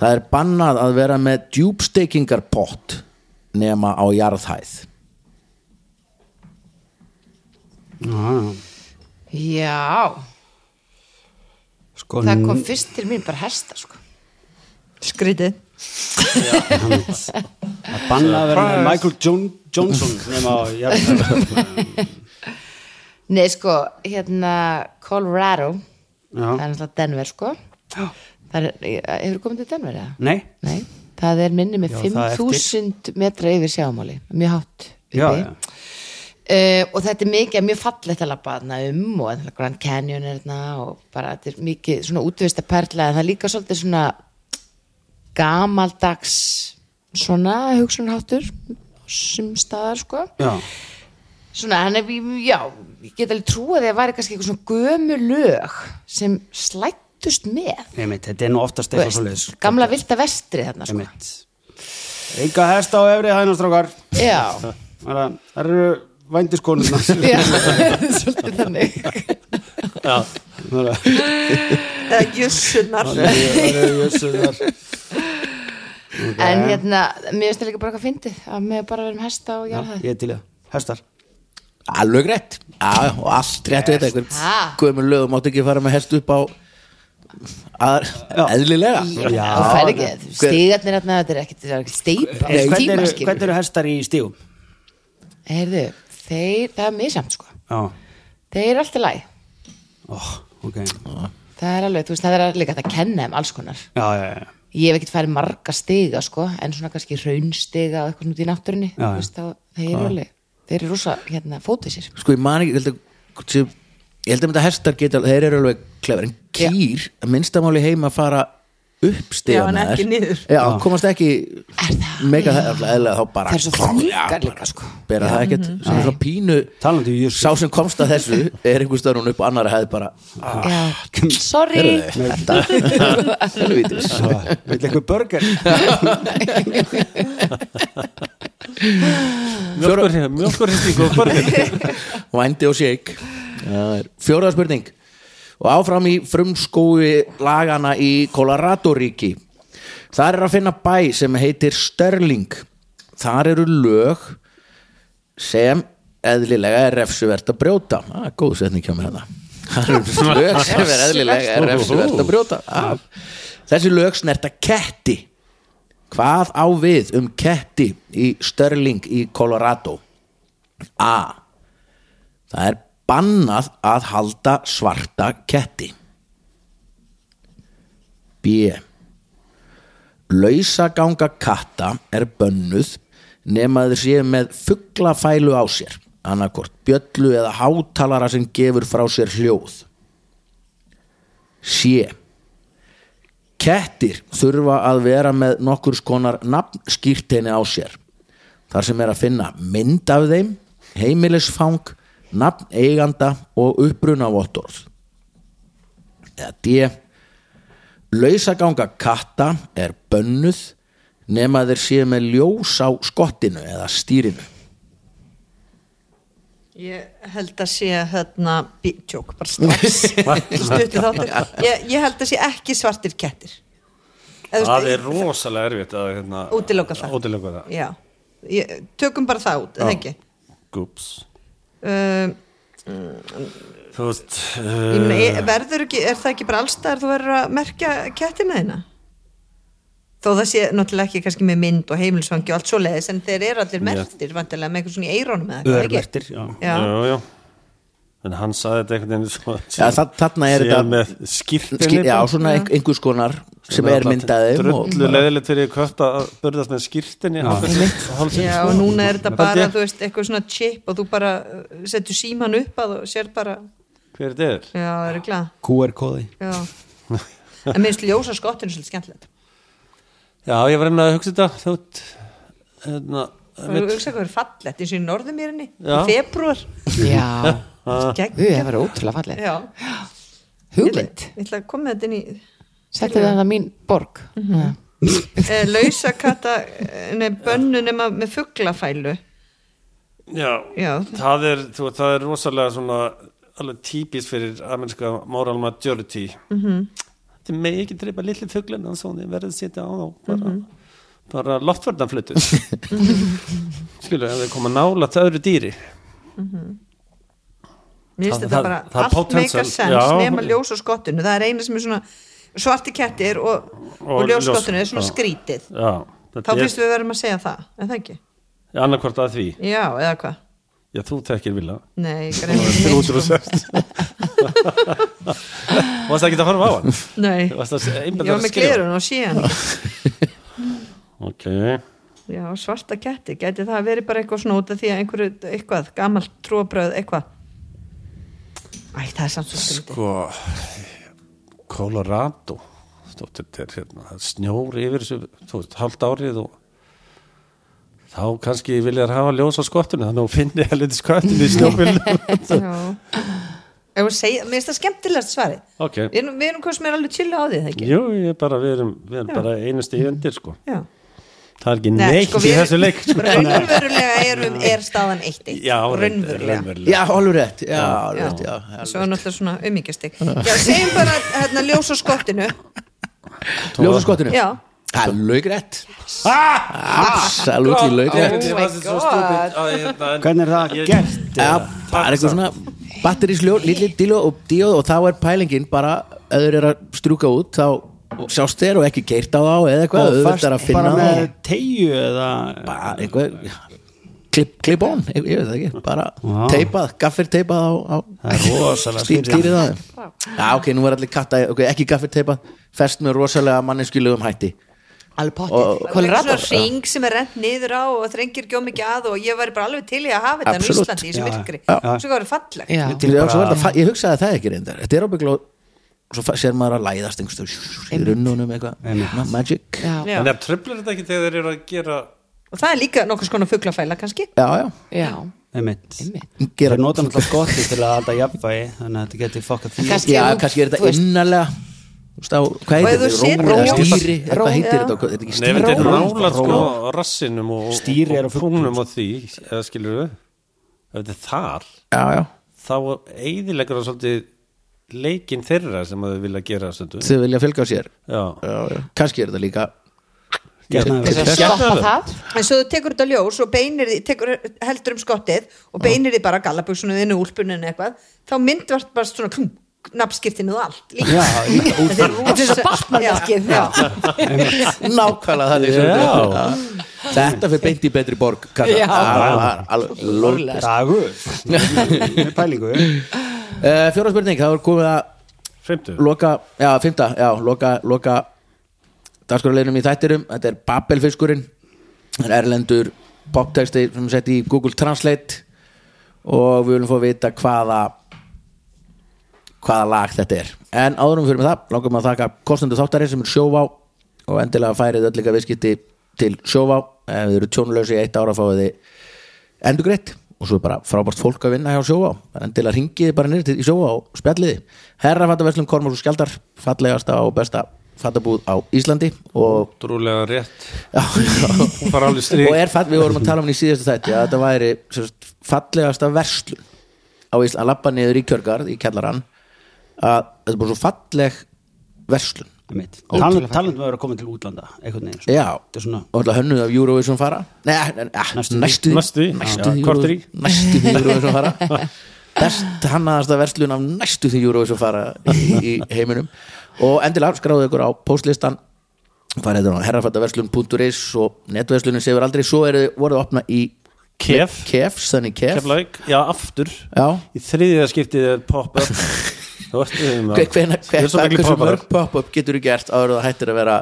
A: Það er bannað að vera með djúbstekingarpott nema á jarðhæð.
D: Ah, Já,
C: Já,
D: Sko,
C: það kom fyrst til mín bara hesta sko.
E: skrítið
D: að banna að vera með Michael John, Johnson nema á jarðhæð.
C: Nei, sko, hérna Colorado
D: Já.
C: Það er náttúrulega Denver, sko Það er, hefur komið til Denver, eða?
D: Nei,
C: Nei, það er minni með
D: Já, það er
C: 5000 metra yfir sjámáli Mjög hátt uppi
D: já, já.
C: Uh, og þetta er mikið, mjög fallegt að labba þarna um og þarna Grand Canyon er þarna og bara þetta er mikið svona útvista perla en það er líka svolítið svona gamaldags svona hugsunarháttur sem staðar sko
D: já.
C: svona, hann er, já, ég get alveg trúa því að það væri kannski eitthvað svona gömu lög sem slættu fættust með
D: einmitt, þetta er nú oftast eitthvað svo leiðis
C: gamla vilda vestri þarna sko.
D: einmitt Enga hesta á efri hænastrákar
C: já,
D: Það eru vændiskonurnar
C: já svolítið þannig
E: eða jussunar
D: Það eru jössunar
C: en hérna, mér finnst það líka bara eitthvað fyndið að með bara verðum hesta og jarða
D: Ég er til í það, hestar
A: Alveg rétt Já, já, og allt rétt við þetta
C: Ha?
A: einhver Guðmur lögum áttu ekki að fara með hest upp á að, eðlilega
C: já, þú fær ekki, stigarnir þarna þetta er ekkert, þetta er ekkert steipa
D: Nei, Eh, Hvernig
C: tíma
D: eru,
C: skilur
D: hvern eru hestar í stígum?
C: heyrðu, þeir, það er misamt sko
D: Já,
C: þeir eru alltaf læg
D: Ó, ok Já,
C: það er alveg, þú veist, það er líka hægt að kenna þeim alls konar
D: já, já, já.
C: ég hef ekkert farið marga stiga sko, en svona kannski raunstiga og eitthvað út í náttúrunni
D: Já,
C: þú veist, þá, þeir eru alveg, þeir eru rosa hérna, fótvísir
A: Sko, ég man ekki, ég held að hvort sé- Ég held að mynda hestar geta, þeir eru alveg klefur En kýr, að minnstamáli heima að fara upp
E: Já, en
A: stegana
E: ekki niður.
A: Já, komast ekki
C: Er það?
A: mega eðlilega eðlilega, þá bara
C: þeir eru svo fólkar líka sko
A: bera það ekkert sem er svona pínu
D: Talandi í
A: sá
D: jössu
A: sem komst að þessu er einhver stöðun upp á annara hefði bara
C: já, sorry
A: heyrðu þið, þetta helvítis
D: Vil eitthvað burger?
B: mjölkurhýsting og börnir
A: vændi og shake fjóraða spurning og áfram í frumskói lagana í Colorado-ríki þar er að finna bæ sem heitir Sterling þar eru lög sem eðlilega er refsivert að brjóta ah, góð setning hjá mér hérna þar eru lög sem er eðlilega er refsivert að brjóta ah. þessi lög snerta ketti hvað á við um ketti í Sterling í Colorado A Það er bannað að halda svarta ketti. B. Lausaganga katta er bönnuð nema þeir séu með fuglafælu á sér, annarkort bjöllu eða hátalara sem gefur frá sér hljóð. C. Kettir þurfa að vera með nokkurs konar nafnskýrteini á sér. Þar sem er að finna mynd af þeim, heimilisfang, nafn eiganda og upprunavottorð. Eða D. Lausaganga katta er bönnuð nema þeir séu með ljós á skottinu eða stýrinu.
E: Ég held að sé hérna bítjók bara strax stutti þáttur ég, ég held að sé ekki svartir kettir Eða, þú
B: það
E: veist,
B: er rosalega erfitt að hérna,
E: Útiloka það.
B: útiloka það.
E: Já, ég, tökum bara það út, eða ekki
B: Gúps.
E: um,
B: þú veist
E: ég
B: uh,
E: meina, ég- verður ekki, er það ekki bara allstaðar þú verður að merkja kettina þína þó það sé náttúrulega ekki kannski með mynd og heimilsvangi og allt svo leiðis en þeir eru allir mertir vantilega með eitthvað svona í eirónum eða eitthvað, ekki?
D: Örmertir, já
E: Já,
B: já, já. en hann saði þetta einhvern veginn svo,
A: Já, þa- þarna er
B: síðan
A: þetta-
B: með skýrtinni
A: Skýr, já, svona ein- einhvers konar sem er myndaðum og
B: drullu leðilegt fyrir kött að burðast með skýrtinni
E: já
B: já,
E: og núna er
B: Þetta
E: þetta bara,
B: er-
E: þú veist, eitthvað svona chip og þú bara uh, setur síman upp að og sér bara,
B: hver er þetta
E: já, það er glað
D: QR-kóði
E: Já En mér finnst ljósa skottinu svolítið skemmtilegt
B: já, ég var einnig að hugsa þetta þú veist, hérna,
E: Og þú hugsa hvað er fallegt eins og í norðumýrinni í
B: Já.
E: februar
C: já,
B: hérna,
E: Gegn-
C: þau hefur ótrúlega fallið
E: Já, ég
C: hugmynd,
E: ætla að koma með þetta inn í
C: settu það það mín borg Já.
E: e, lausa kata nei, bönnu nema með fuglafælu
B: Já,
E: Já.
B: Það, er, þú, veist, það er rosalega svona alveg típist fyrir ameríska moral majority mm -hmm.
E: Mhm.
B: Þið megi ekki treypa litli fuglinn og svona, þið verðið að setja á þá bara,
E: Mhm.
B: bara loftverðanflutu Skilur, ef þið koma nála til öðru dýri
E: Mér finnst
B: Það-
E: þetta
B: það-
E: bara
B: það er
E: allt
B: potential.
E: meika sens
B: Já.
E: nema ljósa skottinu Það er eina sem er svona svarti kettir og, og,
B: Og ljós-
E: ljós skottinu er svona
B: já.
E: skrítið
B: Já,
E: Þá
B: þetta
E: finnst við verðum að segja það, er það ekki?
B: er annarkvort að því
E: Já, eða hvað?
B: Já, þú tekir vilja
E: Nei, greinlega
B: Varst það ekki að horfa á hann?
E: Nei, ég
B: Varst það einbæð
E: var með glerun og síðan
B: Ok,
E: Já, svarta ketti, geti það verið bara eitthvað svona út af því að einhverju, eitthvað, gamalt trúabröð, eitthvað Æ, það er samt svo skrítið
B: sko Colorado þú veist, þetta er hérna, það er snjór yfir þessu, þú veist, halvt árið og þá kannski vilja þær hafa ljós á skottinu, þannig að hún finni helviti skottinu í snjófilm
E: Já, Ef við segja, mér finnst það skemmtilegast svarið
B: Ok.
E: Við erum, við erum hvað sem er alveg chillu á því það ekki
B: Jú, ég er bara, við erum, við erum bara einu stíð undir sko.
E: Já.
B: Það er ekki neitt í þessu leik sko.
E: Raunverulega erum, er staðan eitt eitt
B: Já,
E: Raunverulega
A: Já, alveg rétt Já, alveg rétt, já, já.
E: Svo er náttúrulega svona umingastig Já, segjum bara hérna ljós á skottinu
A: Ljósa skottinu
E: Já,
A: Það er laugrætt Absolutt laugrætt
B: Ég var svo
E: Oh God.
B: stúpid að hérna, en-
D: Hvernig er það
B: Ég-
D: gert?
A: Já, bara eitthvað svona batterísljó, lítli díló og díóð og þá er pælingin bara ef þeir eru að strjúka út þá sjást þeir og ekki geirt á þá eða eitthvað
D: Og
A: auðvitað er að
D: fast
A: finna
D: bara
A: þá.
D: með tegju eða
A: bara eitthvað klipp, klipp on, ég, ég veit það ekki bara
D: Vá.
A: teipað, gaffir teipað á, á
D: Það er rosalega
A: stýr,
D: skrítið.
A: stýrið það já ok, nú er allir katta, ok, ekki gaffir teipað fest með rosalega manninskjulegum hætti
C: alveg
A: Og- og-
C: pottið
E: það er svona
C: Colorado
E: ring sem er rent niður á og þrengir gjóð mikið að og ég væri bara alveg til í að hafa þetta á
A: Absolutt.
E: Íslandi í þessu
D: Já.
E: myrkri
A: Já.
E: Svo var það falleg
C: Já.
A: ég, bara... það, ég hugsaði það ekki reyndar þetta er ábyggla svo fa- sér maður að læðast einhverstu í runnunum eitthvað, Na, magic já,
C: Já,
E: Já.
B: En það tröflar þetta ekki þegar þeir eru að gera
E: Og það er líka nokkurs konar fuglafæla kannski
A: já,
C: já,
D: Einmitt.
C: einmitt
A: gera
D: Þeir nota náttúrulega skotti til að halda jafnvægi Þannig að þetta geti fokkað því
C: kannski-
A: já,
C: Þú-
A: kannski er
C: þú
A: þetta
C: veist-
A: innarlega Þú veist, á, hvað
E: Og ef
A: heitir
E: þú
A: þetta,
E: setur
A: rómur eða
E: ljós-
A: stýri eða hvað
E: Ró-
A: heitir
E: já.
A: þetta, Hvað- þetta er ekki
B: Nei, þetta er
A: stýri
B: nála sko rassinum og, og,
D: Stýri er á
B: og
D: fuglum,
B: fúnum og því eða skilur við ef þetta er þar
A: já, já,
B: þá eiðilegur það svolítið leikinn þeirra sem að þau vilja gera stundum
A: þau vilja fylga sér
B: Já,
A: já, já. kannski er þetta líka
C: Til
D: Gjarnan-
C: að stoppa
B: Skemmtilega.
C: það
E: En svo þú tekur þetta ljós og beinir því tekur, heldur um skottið og beinir því bara gallabugsunum þinn og úlpuninu eitthvað þá myndvart bara svona klum nafnskiptinu og allt líka
D: Já, einmitt,
E: Þetta er
C: Þetta er svo
E: rosa-
C: Batman-verkið,
E: Já, já.
A: nákvæmlega það er
B: Já.
A: svolítið. Já. þetta fyrir beint í betri borg kalla.
C: Já.
A: Það var alveg lórlega
D: Dagur Með pælingu
A: uh, fjóra spurning, það var komið að
B: fimmtu
A: loka, já, fymta, já, loka, loka dagskoruleginum í þættirum þetta er Babelfiskurinn það er erlendur poptexti sem sett í Google Translate og við viljum fá að vita hvaða hvaða lag þetta er en áðurum fyrir með það, langar maður að þakka kostendur þáttarins sem er sjóvá og endilega færið öll líka viðskipti til sjóvá ef þið eru tjónulösi í eitt ára fáið þið endugreitt og svo er bara frábært fólk að vinna hjá sjóvá endilega ringiði bara nýrtið í sjóvá og spjalliði herra fattaverslum Kormars og Skjaldar fallegasta og besta fattabúð á Íslandi og
B: Drúlega rétt
A: Já, já.
B: Hún fara alveg strík
A: og er fall, við vorum að tala um hann í síðasta þætti að þetta væri sem sagt, fallegasta verslun á Ísland, að lappa niður í kjörgarð í kjallarann að þetta er bara svo falleg verslun
D: Einmitt. Talan- Talandi maður að koma til útlanda Einhvern veginn sko.
A: já,
D: Þetta er svona
A: og alltaf hönnuð af Eurovision fara nei, nei,
D: Næstu því.
A: nei, næstu því.
B: Næstu því. Já,
A: næstu því
B: korter í.
A: Euro- næstu því Eurovision fara best hannaðasta verslun af næstu því Eurovision fara í, í heiminum og endilega skráðu ykkur á postlistan farið þetta á herrafattaverslun.is og netverslunin sefur aldrei svo eru voruð að opna í
B: Kef,
A: Kefs, þannig Kef
B: keflæk, já aftur
A: Já.
B: Í þriðja skiptið er pop-up Þú veist við um
A: Hve- hvena-
B: Ég er
A: hve-
B: svo miklu
A: Hversu
B: pop-up.
A: mörg pop-up getur þú gert áður það hættir að vera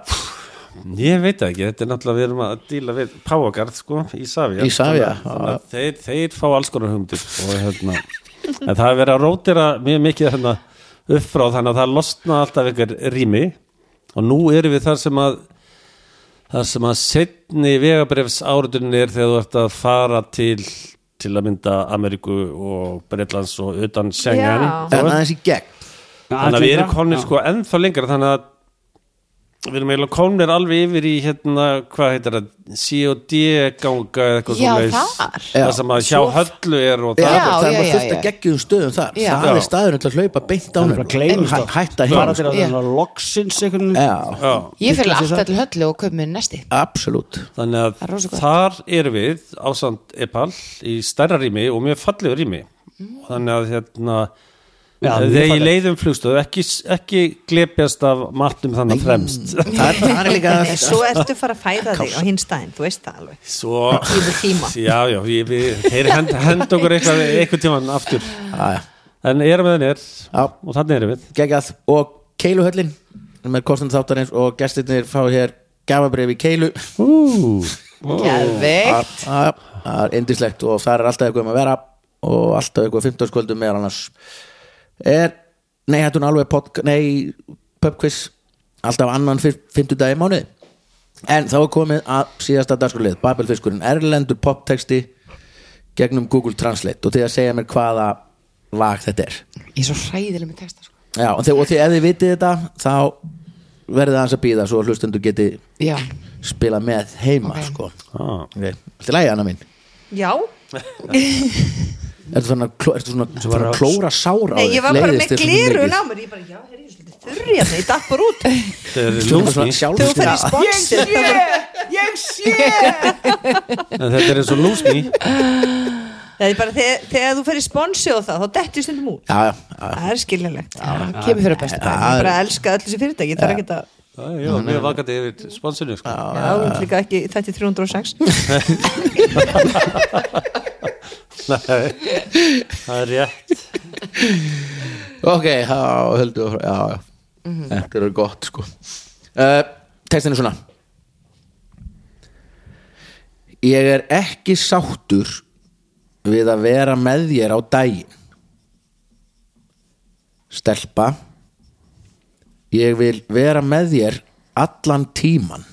B: Ég veit það ekki, þetta er náttúrulega við erum að díla við Páagarð sko, í Savia
A: Í Savia,
B: Þannig að þeir, þeir fá alls konar hugmyndir og hérna en það er verið að rótira mjög mikið hérna upp frá þannig að það losna alltaf ykkur rými og nú erum við þar sem að þar sem að setni vegabrefs áritunni er þegar þú ert að fara til til að mynda Ameríku og Breitlands og utan Schengen
E: Já.
A: en aðeins í gegn
B: þannig að við erum komnir
D: Já.
B: sko ennþá lengra þannig að við erum eiginlega komnir alveg yfir í hérna, hvað heitir það, C&D ganga eða eitthvað
C: Já,
B: svoleiðis.
C: þar.
B: það sem að hjá höllu er og það
A: Það er- það er
C: já,
A: maður
C: já,
A: fullt
C: já.
A: að geggjum stöðum þar
C: Já.
A: það er
B: Já.
A: staðurinn til að hlaupa beint á
D: Það er bara
A: honum.
D: gleymist
A: Hæ-
D: oft.
A: hætta
D: bara
A: hérna
D: til
A: sko.
D: að
C: Já.
D: það er loksins einhvern veginn
A: Já,
B: Já,
C: Ég fyrir
D: Líklega til
C: alltaf til höllu og köp mér næsti
A: absolutt
B: þannig
C: Það er
B: að
C: rosa gott.
B: þar erum við ásand Epal í stærra rými og mjög fallegu rými
C: Mm.
B: þannig að hérna
D: Já, mjög
B: þegar ég
D: fallegt.
B: leiðum flugstöð ekki, ekki glepjast af matnum þannig fremst
A: Það er- það er líka
E: Nei, Svo ertu fara að færa þig á hinn staðin þú veist það alveg
B: svo,
E: Yfir tíma.
B: já, já, ég, við, þeir hend, hend okkur eitthvað, eitthvað tíman aftur
A: Já, já.
B: En erum við þannig er
A: Já.
B: og þannig erum við
A: geggjað og Keiluhöllin með kostandi þáttarins og gestirnir fá hér gafabrif í Keilu
C: Geðveikt.
A: Já, það er indislegt og það er alltaf eitthvað um að vera og alltaf eitthvað 15 skvöldum meðal annars er, nei hættu hún alveg podk, nei, pubquiz alltaf annan fyr- fimmtudagi í mánuði en þá er komið að síðasta dagskurlið, Babelfiskurinn, erlendur poptexti gegnum Google Translate og til að segja mér hvaða lag þetta er
C: Ég er svo hræðileg með texta sko.
A: Já, og, þið, og þið, ef þið vitið þetta þá verðið aðeins að býða svo að hlustendur geti
C: Já,
A: spila með heima
C: Ok.
A: sko.
F: Ah.
A: okay. Þetta er lægi, Anna mín
E: Já,
A: Ertu þannig að, kló, ertu svona,
D: Svo var
A: svona
D: á-
A: klóra sára
E: nei, ég var bara með glirun á mér Ég bara, já, herri, ég er svolítið þurri hérna, ég datt bara út
F: Þetta er lúsný
E: Þegar þú fer í
A: Sjálfsvara
E: sponsið
F: En þetta er eins og lúsný
E: Það er bara, þegar, þegar þú fer í sponsið og það, þá dettur stundum út
A: Já, já,
E: Það er skiljanlegt Ég
C: það kemur fyrir að bestu dag
E: bara elska öll þessi fyrirtæki, það er ekki að
F: Já, já, mjög vakandi yfir sponsinu sko.
E: Já, þú ert líka ekki, þetta er 306
F: Nei, það er rétt
A: Ok, já, höldu Já, já, þetta eru gott sko uh, Textin er svona Ég er ekki sáttur við að vera með þér á daginn Stelpa Ég vil vera með þér allan tíman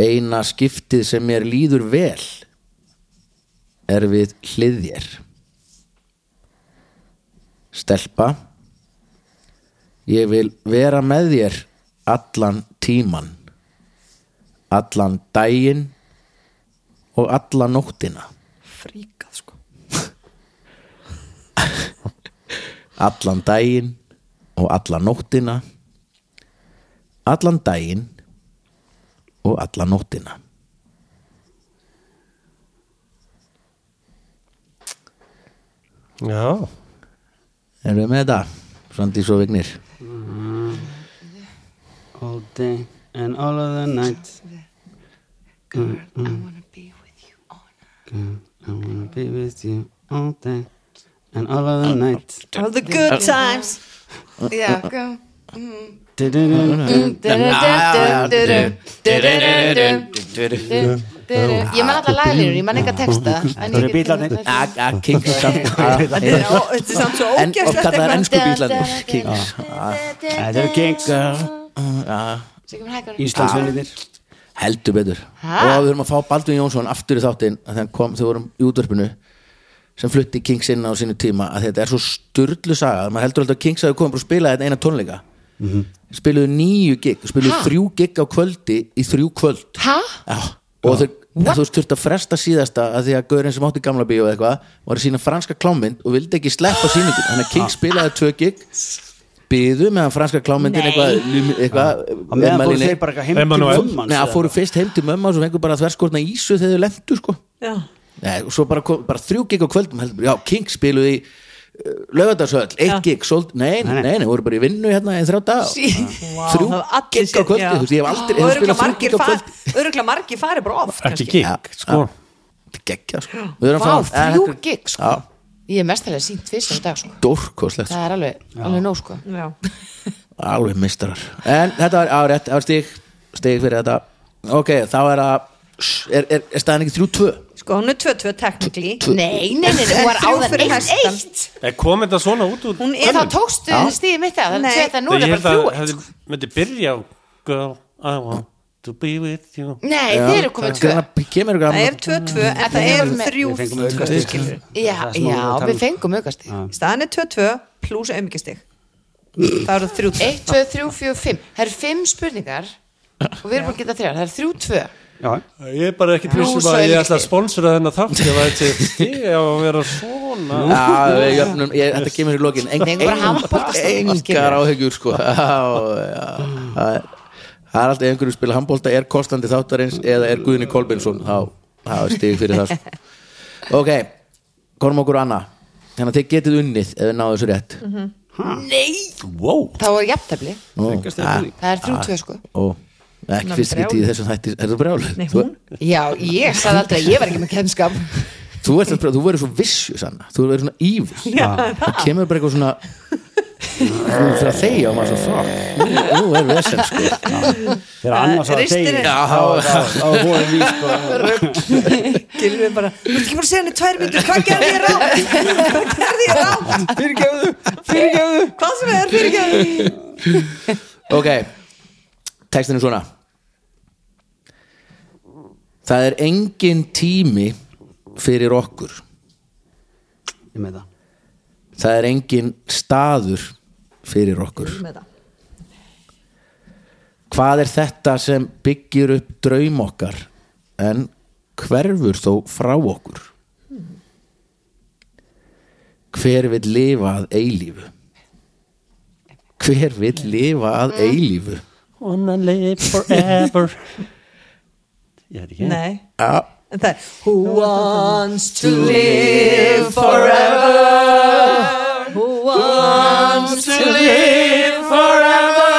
A: Eina skiptið sem mér líður vel er við hlið þér stelpa ég vil vera með þér allan tíman allan daginn og alla nóttina
E: Fríkað, sko
A: allan daginn og alla nóttina allan daginn og alla nóttina
B: Já,
A: erum við með þetta? Svandís og Vignir
D: All day and all of the night I wanna be with you all day and all of the night
E: All the good times
C: Já, gá
D: Du-du-du-du.
C: Ég man alltaf laglýrur, ég man enga texta en ég
D: eru
C: get-
D: bílarnir.
A: að að Kings samt að-
E: Þetta er ó- þetta er samt svo
A: en og
E: ógæslegt
A: hvað það er hérna.
E: eitthvað
A: ennsku bílarnir Kings
D: Þetta eru gengur
C: Svo kemur hækkanum.
D: Íslandsvinniðir
A: heldur betur
C: Ha?
A: og við höfum að fá Baldvin Jónsson aftur í þáttinn að þegar hann kom þegar vorum í útverfinu sem flutti Kings inn á sínu tíma að þetta er svo sturdlu saga að maður heldur alltaf að Kings hafi komið bara að spila þetta eina tónleika Mhm. spiluðu nýju gig spiluðu þrjú gig á kvöldi í þrjú kvöld
C: Ha?
A: Já, og þeir, þú veist þurft að fresta síðasta að því að Gaurin sem átti gamla bíó eða eitthvað var að sína franska klámynd og vildi ekki sleppa síningin þannig að King spilaði tvö gig byðu meðan franska klámyndin
E: Nei.
A: eitthvað, eitthvað
D: Á meðan fóru
A: ummælin-
D: þeir bara heim til
B: Emmanuel.
A: Nei, það fóru fyrst heim til mömmu og svo fengur bara þverskorna ísu þegar þau lendu sko.
E: Já,
A: Nei, og svo bara, kom, bara þrjú gig á kvöldum heldur, já, King spiluði í uh, laugardagshöll, eitt gig, sold, nei, nei, nei, nei, voru bara í vinnu hérna í þrjá dag
C: Sí.
A: þrjú
E: það var allir
A: gig á
E: sér-
A: kvöldi,
E: já.
A: þú veist, ég hef aldrei
E: Og
A: hef
E: örugla
A: spilað þrjú
E: margir,
A: gig á
E: far,
A: kvöldi
E: örugla margir fari bara oft
B: ekki
E: kannski.
B: gig, sko
A: Þetta er geggjað, sko. Við erum
C: Vá,
A: að fá- en
C: þrjú
A: þetta er
C: gig sko
A: Já.
C: Ég er mestalega sínt fyrst á dag sko
A: Dórkoslegt,
C: Það er alveg, alveg nóg sko
E: Já.
A: alveg mistarar en þetta var árétt, það var stig stig fyrir þetta ok, þá er að er, er, er staðan ekki 3-2
E: Sko, hún er 2-2 technically
C: Nei, nei, nei, nei,
E: En
C: hún var
E: þrjú
C: áðan
E: fyrir
C: eitt,
E: hestan.
C: eitt
F: En kom þetta svona út úr
E: Hún
C: Og
E: er
C: þá tókstu stíði mitt eða
E: Nei.
C: Þannig að nú
F: Ég
C: er það
F: held að
C: bara þrjú eitt
F: hefði myndi byrja á Girl, I want to be with you
C: Nei, þið eru komið tvö
A: Grann- kemur ykkur
E: Það er
A: að
E: 2-2 en það
C: Við
E: er
C: erum með-
D: Við fengum
E: 3
D: aukastig skilur
C: Já,
D: Það er sem
C: já,
D: vorum að tala um.
C: við fengum aukast
E: Staðan er 2-2 pluss aumingastig Það eru 3-2
C: Eitt, tvö, þrjú, fjú, fimm Það eru fimm spurningar Og við erum búin að geta þrjár, það eru þrjú, tvö
D: Já,
F: Ég er bara ekki
C: Plús
F: pjúsum
C: og
F: að ég
C: einmitt.
F: ætla að sponsora þennan þátt Ég var til stig á að vera svona
A: Já, við jöfnum, ég, þetta kemur í lokin Eng,
C: Fengum bara handboltastofu, skilur.
A: Engar áhyggjur sko Já, já. Það er- það er alltaf einhverju spila handbólta er kostandi þáttarins eða er Guðni Kolbensson þá þá er stig fyrir það sko. ok, konum okkur annað þannig að þið getið unnið ef þið náðu þessu rétt
C: Þá er jafntefli,
A: Ó, ah,
C: það er þrjú, tvö sko
A: ó, ekki fyrst getið í þessum þætti er þú brjál? Þú,
C: Já, ég sagði aldrei að ég var ekki með kennskap
A: þú, ert að brjál- þú verður svo vissu sanna þú verður svona ívus það kemur bara eitthvað svona þú fyrir að þegja og maður svo fuck nú- nú er vesend sko
D: þegar
A: Eh,
D: annars að
E: Ristir
D: þeir
E: er-
D: á voru því sko
E: Gilvið bara, þú ert ekki búin að segja henni tvær myndur Hvað gerði ég rátt? Hvað gerði ég rátt?
D: Fyrirgefðu, fyrirgefðu
E: Hvað sem er fyrirgefðu?
A: Ok, textin er svona Það er engin tími fyrir okkur
D: Ég með það
A: það er engin staður fyrir okkur
E: með það
A: hvað er þetta sem byggir upp draum okkar en hverfur þó frá okkur hver vill lifa að eilífu hver vill lifa að eilífu
F: Wanna live forever Ég veit ekki
E: Nei,
A: ja,
E: en það er Who wants to live forever Who wants to live forever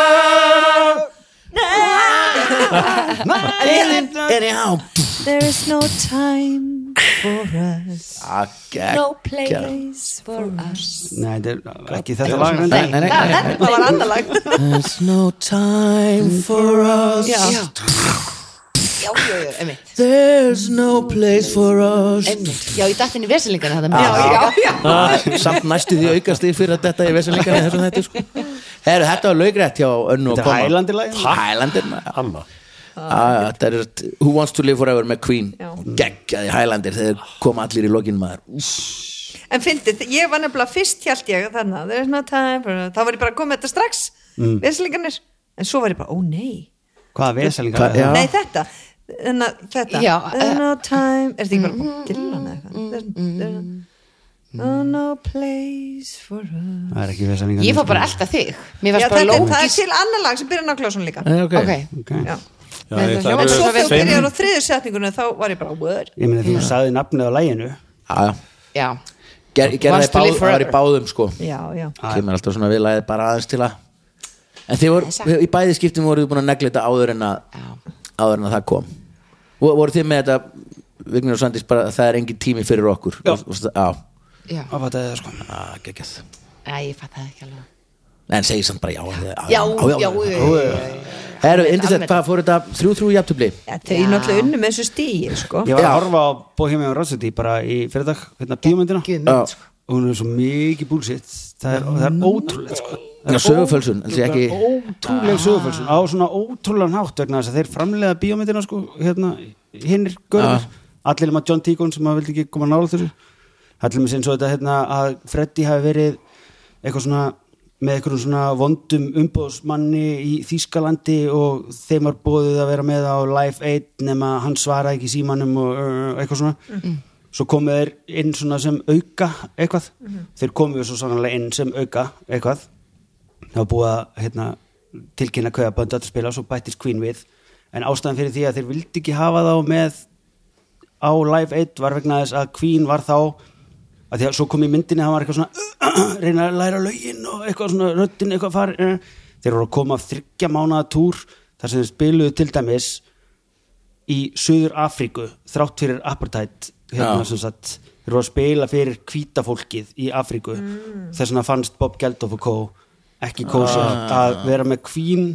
A: anyhow
E: There is no time for us
A: Ah, gegg-
G: No place for us
D: Nei, þetta er ekki þetta lag en-
A: Nei, nei, nei, nei, nei.
E: Það var andalag
A: There's no time for us
C: Já, já, já, já, einmitt,
A: There's no place for us
C: einmitt. Já, ég datt inn í veselingana þetta með
E: já
A: Ah, samt næstu því aukast því fyrir að þetta ég veist líka þessum þetta sko. Heru, þetta var laugrætt hjá önnu og
D: Þetta er
A: koma
D: Highlander lagið?
A: Highlander maður.
B: Amma
A: Ah, þetta er Who Wants to Live Forever með Queen
E: Já.
A: geggjaði Highlander þegar kom allir í lokin maður
E: En fyndið, ég var nefnilega fyrst hjælt ég þannig að there is no time for us. Þá var ég bara að koma með þetta strax mm. Veslingarnir En svo var ég bara, ó nei
D: Hvaða veselingar
A: Hvað-
D: er það?
A: Já.
E: Nei, þetta Enna, þetta
C: Já, eh, mm,
E: There's no time Er þetta ekki bara gillan eða eitthvað There's- there's- No,
A: Mm.
E: no place for us
D: Það er ekki veselingar
C: Ég fór bara elda þig Mér
E: Já,
C: varst bara
E: þetta er, það er
C: lókis
E: til annar lag sem byrjar nákvæmlega svona líka
A: Eh, ok,
C: Ok,
E: Já.
B: Já,
C: Nei,
B: ég
C: það
B: ætla
C: hljómar
B: að-
E: En svo
C: Svo
E: þegar
C: fimm.
E: byrjar á þriðu setningunni þá var ég bara, what?
D: Ég meina þú sagði nafnið á læginu
A: Ah, Já, já.
C: já
A: Ger, gerði
C: Wants
A: það í
C: to live
A: báð, það var í
C: forever.
A: báðum sko.
E: Já, já
A: kemur alltaf svona við lagið bara aðeins til að en þið voru, í bæði skiptum voruð þið búin að negla þetta áður en að áður en að það kom og voru þið með þetta Vignir og Sandís bara það er engin tími fyrir okkur
D: Já.
A: og, og, á,
C: Já,
D: Hvað var þetta sko?
A: Ah, geggjað.
C: Æ, ég fatt það ekki alveg
A: Nei, en segi samt bara já Já,
C: Já, já, já, já, já,
A: Herru,
C: Alveg,
A: indisett,
C: alveg.
A: hvað fór þetta? Þrjú, þrjú, jafntöfli
E: Ja, Þau er náttúrulega unnu með þessu stíi, sko
D: Ég var
A: Já.
D: að horfa á Bohemian Rhapsody bara í fyrirdag hérna bíómyndina
C: Guð minn, sko.
D: og hún er svo mikið búlsitt það er, það er ótrúlega sko.
A: Já, sögufölsun, heldur
D: það
A: ég
D: er
A: ekki
D: ótrúlega sögufölsun á svona ótrúlega nátt vegna þess að þeir framlega bíómyndina sko, hérna, hinnir görður allir um að John Deacon sem að vildi ekki koma nála þessu allir um eins og þetta hérna, að Freddy hafi verið eitthvað svona með eitthvað svona vondum umbóðsmanni í Þýskalandi og þeim var bóðið að vera með á Life 1 nema hann svaraði ekki símanum og uh, eitthvað svona svo komu þeir inn svona sem auka eitthvað, þeir komu svo sannlega inn sem auka eitthvað það var búið að hérna, tilkynna kauða böndu að spila og svo bættist Queen við en ástæðan fyrir því að þeir vildi ekki hafa þá með á Live 1 var vegna þess að Queen var þá að því að svo kom í myndinni hann var eitthvað svona reyna að læra lögin og eitthvað svona röddin eitthvað fari eh. þeir voru að koma af þryggja mánaða túr þar sem þeir spiluðu til dæmis í Suður Afríku þrátt fyrir apartheid hérna
A: Já.
D: sem sagt þeir voru að spila fyrir hvíta fólkið í Afríku þess vegna fannst Bob Geldof og Co ekki kósi að vera með Queen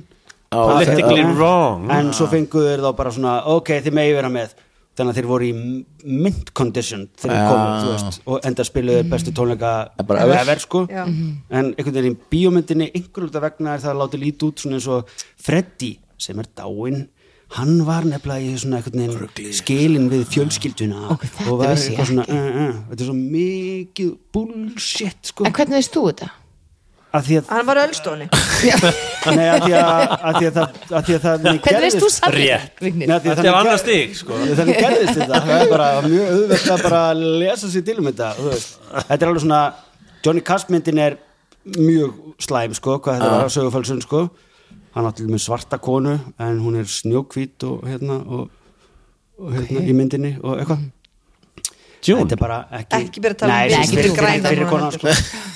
A: Á,
D: Politically
F: Politically wrong.
D: en
A: Ah.
D: svo fenguðu þeir þá bara svona ok, þið megi vera með þannig að þeir voru í mint condition þegar þeir
A: Já.
D: komu, þú veist, og enda spiluðu þeir bestu tónleika
A: En bara Mhm. ever.
D: sko
E: Já.
D: en einhvern veginn í bíómyndinni einhverjum þetta vegna er það látið lít út svona eins og Freddy sem er dáinn hann var nefnilega í svona einhvern veginn skilin við fjölskylduna
C: Ok, þetta
D: og var
C: vissi ég
D: eitthvað svona uh, uh, þetta er svo mikið bullshit sko
C: En hvernig veist þú þetta?
D: að því að
E: Hann var á ölstóni
D: Nei, að því að, að, því að, það- að, því að það
C: Hvernig veist þú
D: gerðist-
F: Rétt.
D: Nei,
C: sannig?
D: af því
F: Þetta er
D: að þannig
F: annað
D: gerðist-
F: stig sko.
D: þannig gerðist þetta það er bara mjög auðvelt að bara lesa sér til um þetta þú veist. þetta er alveg svona Johnny Cash myndin er mjög slæm sko, hvað þetta
E: Ah.
D: var á sögufölsun sko. hann átti með svarta konu en hún er snjókvít og hérna, og, og, hérna í myndinni og eitthvað
F: June.
D: þetta er bara ekki
E: Ekki byrja að tala um
D: Nei,
E: við-
D: þessi
E: ekki
D: fyrir-
E: græna
D: fyrir- fyrir
E: núna,
D: konan
E: heldur.
D: sko.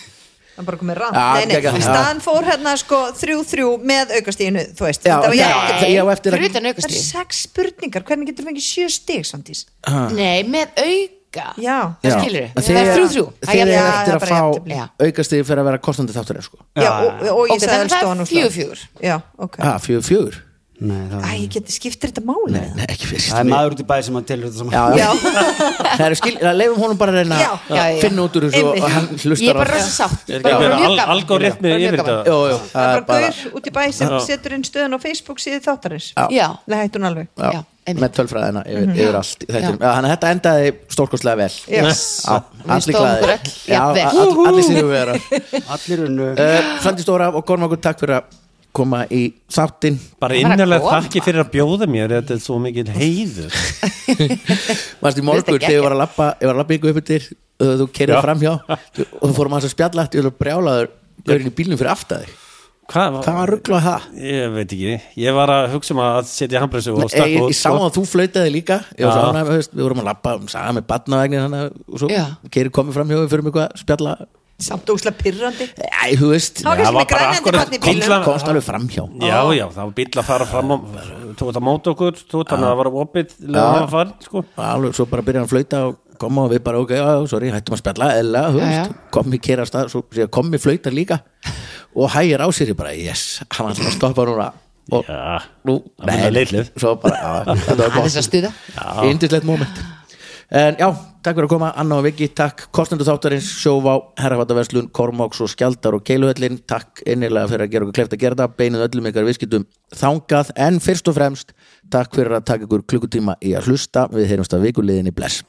E: hann bara komið rann
A: Já,
E: nei, nei,
A: geggjað.
E: í staðan fór hérna sko 3-3 með aukastíðinu, þú veist
A: Já,
E: þetta var
A: já,
E: ég
A: já, ég á eftir að
C: Fyrir utan
E: það er
C: aukastíð
E: sex spurningar, hvernig getur þú fengið sjö stig samtís
C: Nei, með auka Það
E: já,
A: Ah. Já.
C: skilur
A: En
C: Það er
A: þið-
C: þrjú þrjú Það
A: Þið er
C: er jafnvel-
E: já,
A: eftir að
E: bara
A: fá
E: jafntefli.
C: Já.
A: aukastig fyrir að vera kostandi þáttur sko.
E: já, og, og
C: Ok,
E: ég sagði
C: þannig að það er
E: ölstóðan
C: fjögur fjögur
E: já, ok
A: ah, Fjögur, fjögur
D: Nei, það,
E: Æ, ég geti skiptir þetta máli eða?
A: Nei, ekki fyrst
D: það er maður út í bæ sem að telur þetta saman
A: Já, já.
E: Já.
A: Það eru skil, það leifum honum bara að reyna
E: Já.
A: að
C: Já, já.
A: finna út úr þessu
E: Einmitt.
A: og hann hlustar
C: Ég er
A: á-
C: bara rosa sátt
B: Er
C: Bara
B: ekki
C: mjög
B: verið
C: gaman.
B: algoritmi
C: Bara mjög
B: yfir
C: gaman.
B: þetta?
A: Jú, jú,
E: það er bara
A: bara-
E: gaur út í bæ sem setur inn stöðun á Facebook síðu þáttarins
C: Já,
E: það hætti hún alveg
A: Já,
C: Já, einmitt.
A: með tölfræðina yfir, yfir allt í þættinum. Já, Þannig að þetta endaði stórkostlega vel
E: Yes.
A: Já, Allir
C: stóðum
A: glæðir
C: okkur öll jafnvel.
A: all- Allir sínum vera
D: allir unnu
E: Eh.
A: Frandi Stóra og Gormakur, takk fyrir að koma í þáttin
B: Bara
C: Bara
B: innanlega
C: koma.
B: þakki fyrir að bjóða mér þetta er svo mikil heiður
A: Varst í
C: Veist
A: morgun
C: ekki
A: þegar ég var að labba Ég var að labba ykkur upp yfir uh, Þú kerðið
B: Já.
A: framhjá Og þú fórum að þess að spjalla Þú erum brjálaður Gaurinn í bílnum fyrir aftaði
B: Hvað var?
A: Hvað var rugglað það?
B: Ég veit ekki, ég var að hugsa um að setja handbremsu og
A: Ég,
B: stakk
A: ég,
B: út
A: ég sá
B: sko.
A: að þú flautaði líka ég
B: Já.
A: var svona, þú veist, Við vorum að labba um saga með batnavegnin hana, Og svo
C: Já.
A: keiri komið fram hjá Við fyrir mig hvað spjalla
E: samt óslega pirrandi
A: Æ, þú veist
B: Það
E: Það var kannski
B: var
E: með
B: bara
E: grænjandi
B: akkurat
E: barn í bílum
B: bíllan-
A: Komst alveg fram hjá
B: Já, já, það var bíl að fara fram á Þú veit að móta okkur, þú veit að það var opið
A: Já.
B: Leða að fara, sko
A: alveg, Svo bara byrjaði hann að flauta og koma og við bara ok, já, já, sorry, hættum að spjalla eðla, þú
C: Já,
A: veist, kom í kera stað Svo sér kom í flauta líka Og hægir á sér ég bara, yes, hann ætlar að stoppa núna Og
B: Já,
A: nú,
B: Að finna leitlið.
A: Svo bara, já, þetta var
C: aðeins að
A: gott
C: stuða
A: Índislegt moment En já, takk fyrir að koma, Anna og Viki, takk Kostendur þáttarins, sjóvá, herrafataverslun Kormáks og Skjaldar og Keiluhöllin Takk innilega fyrir að gera okkur kleft að gera það Beinuð öllum ykkar viðskiptum þangað En fyrst og fremst, takk fyrir að taka ykkur klukkutíma í að hlusta Við heyrumst að vikuliðinni bless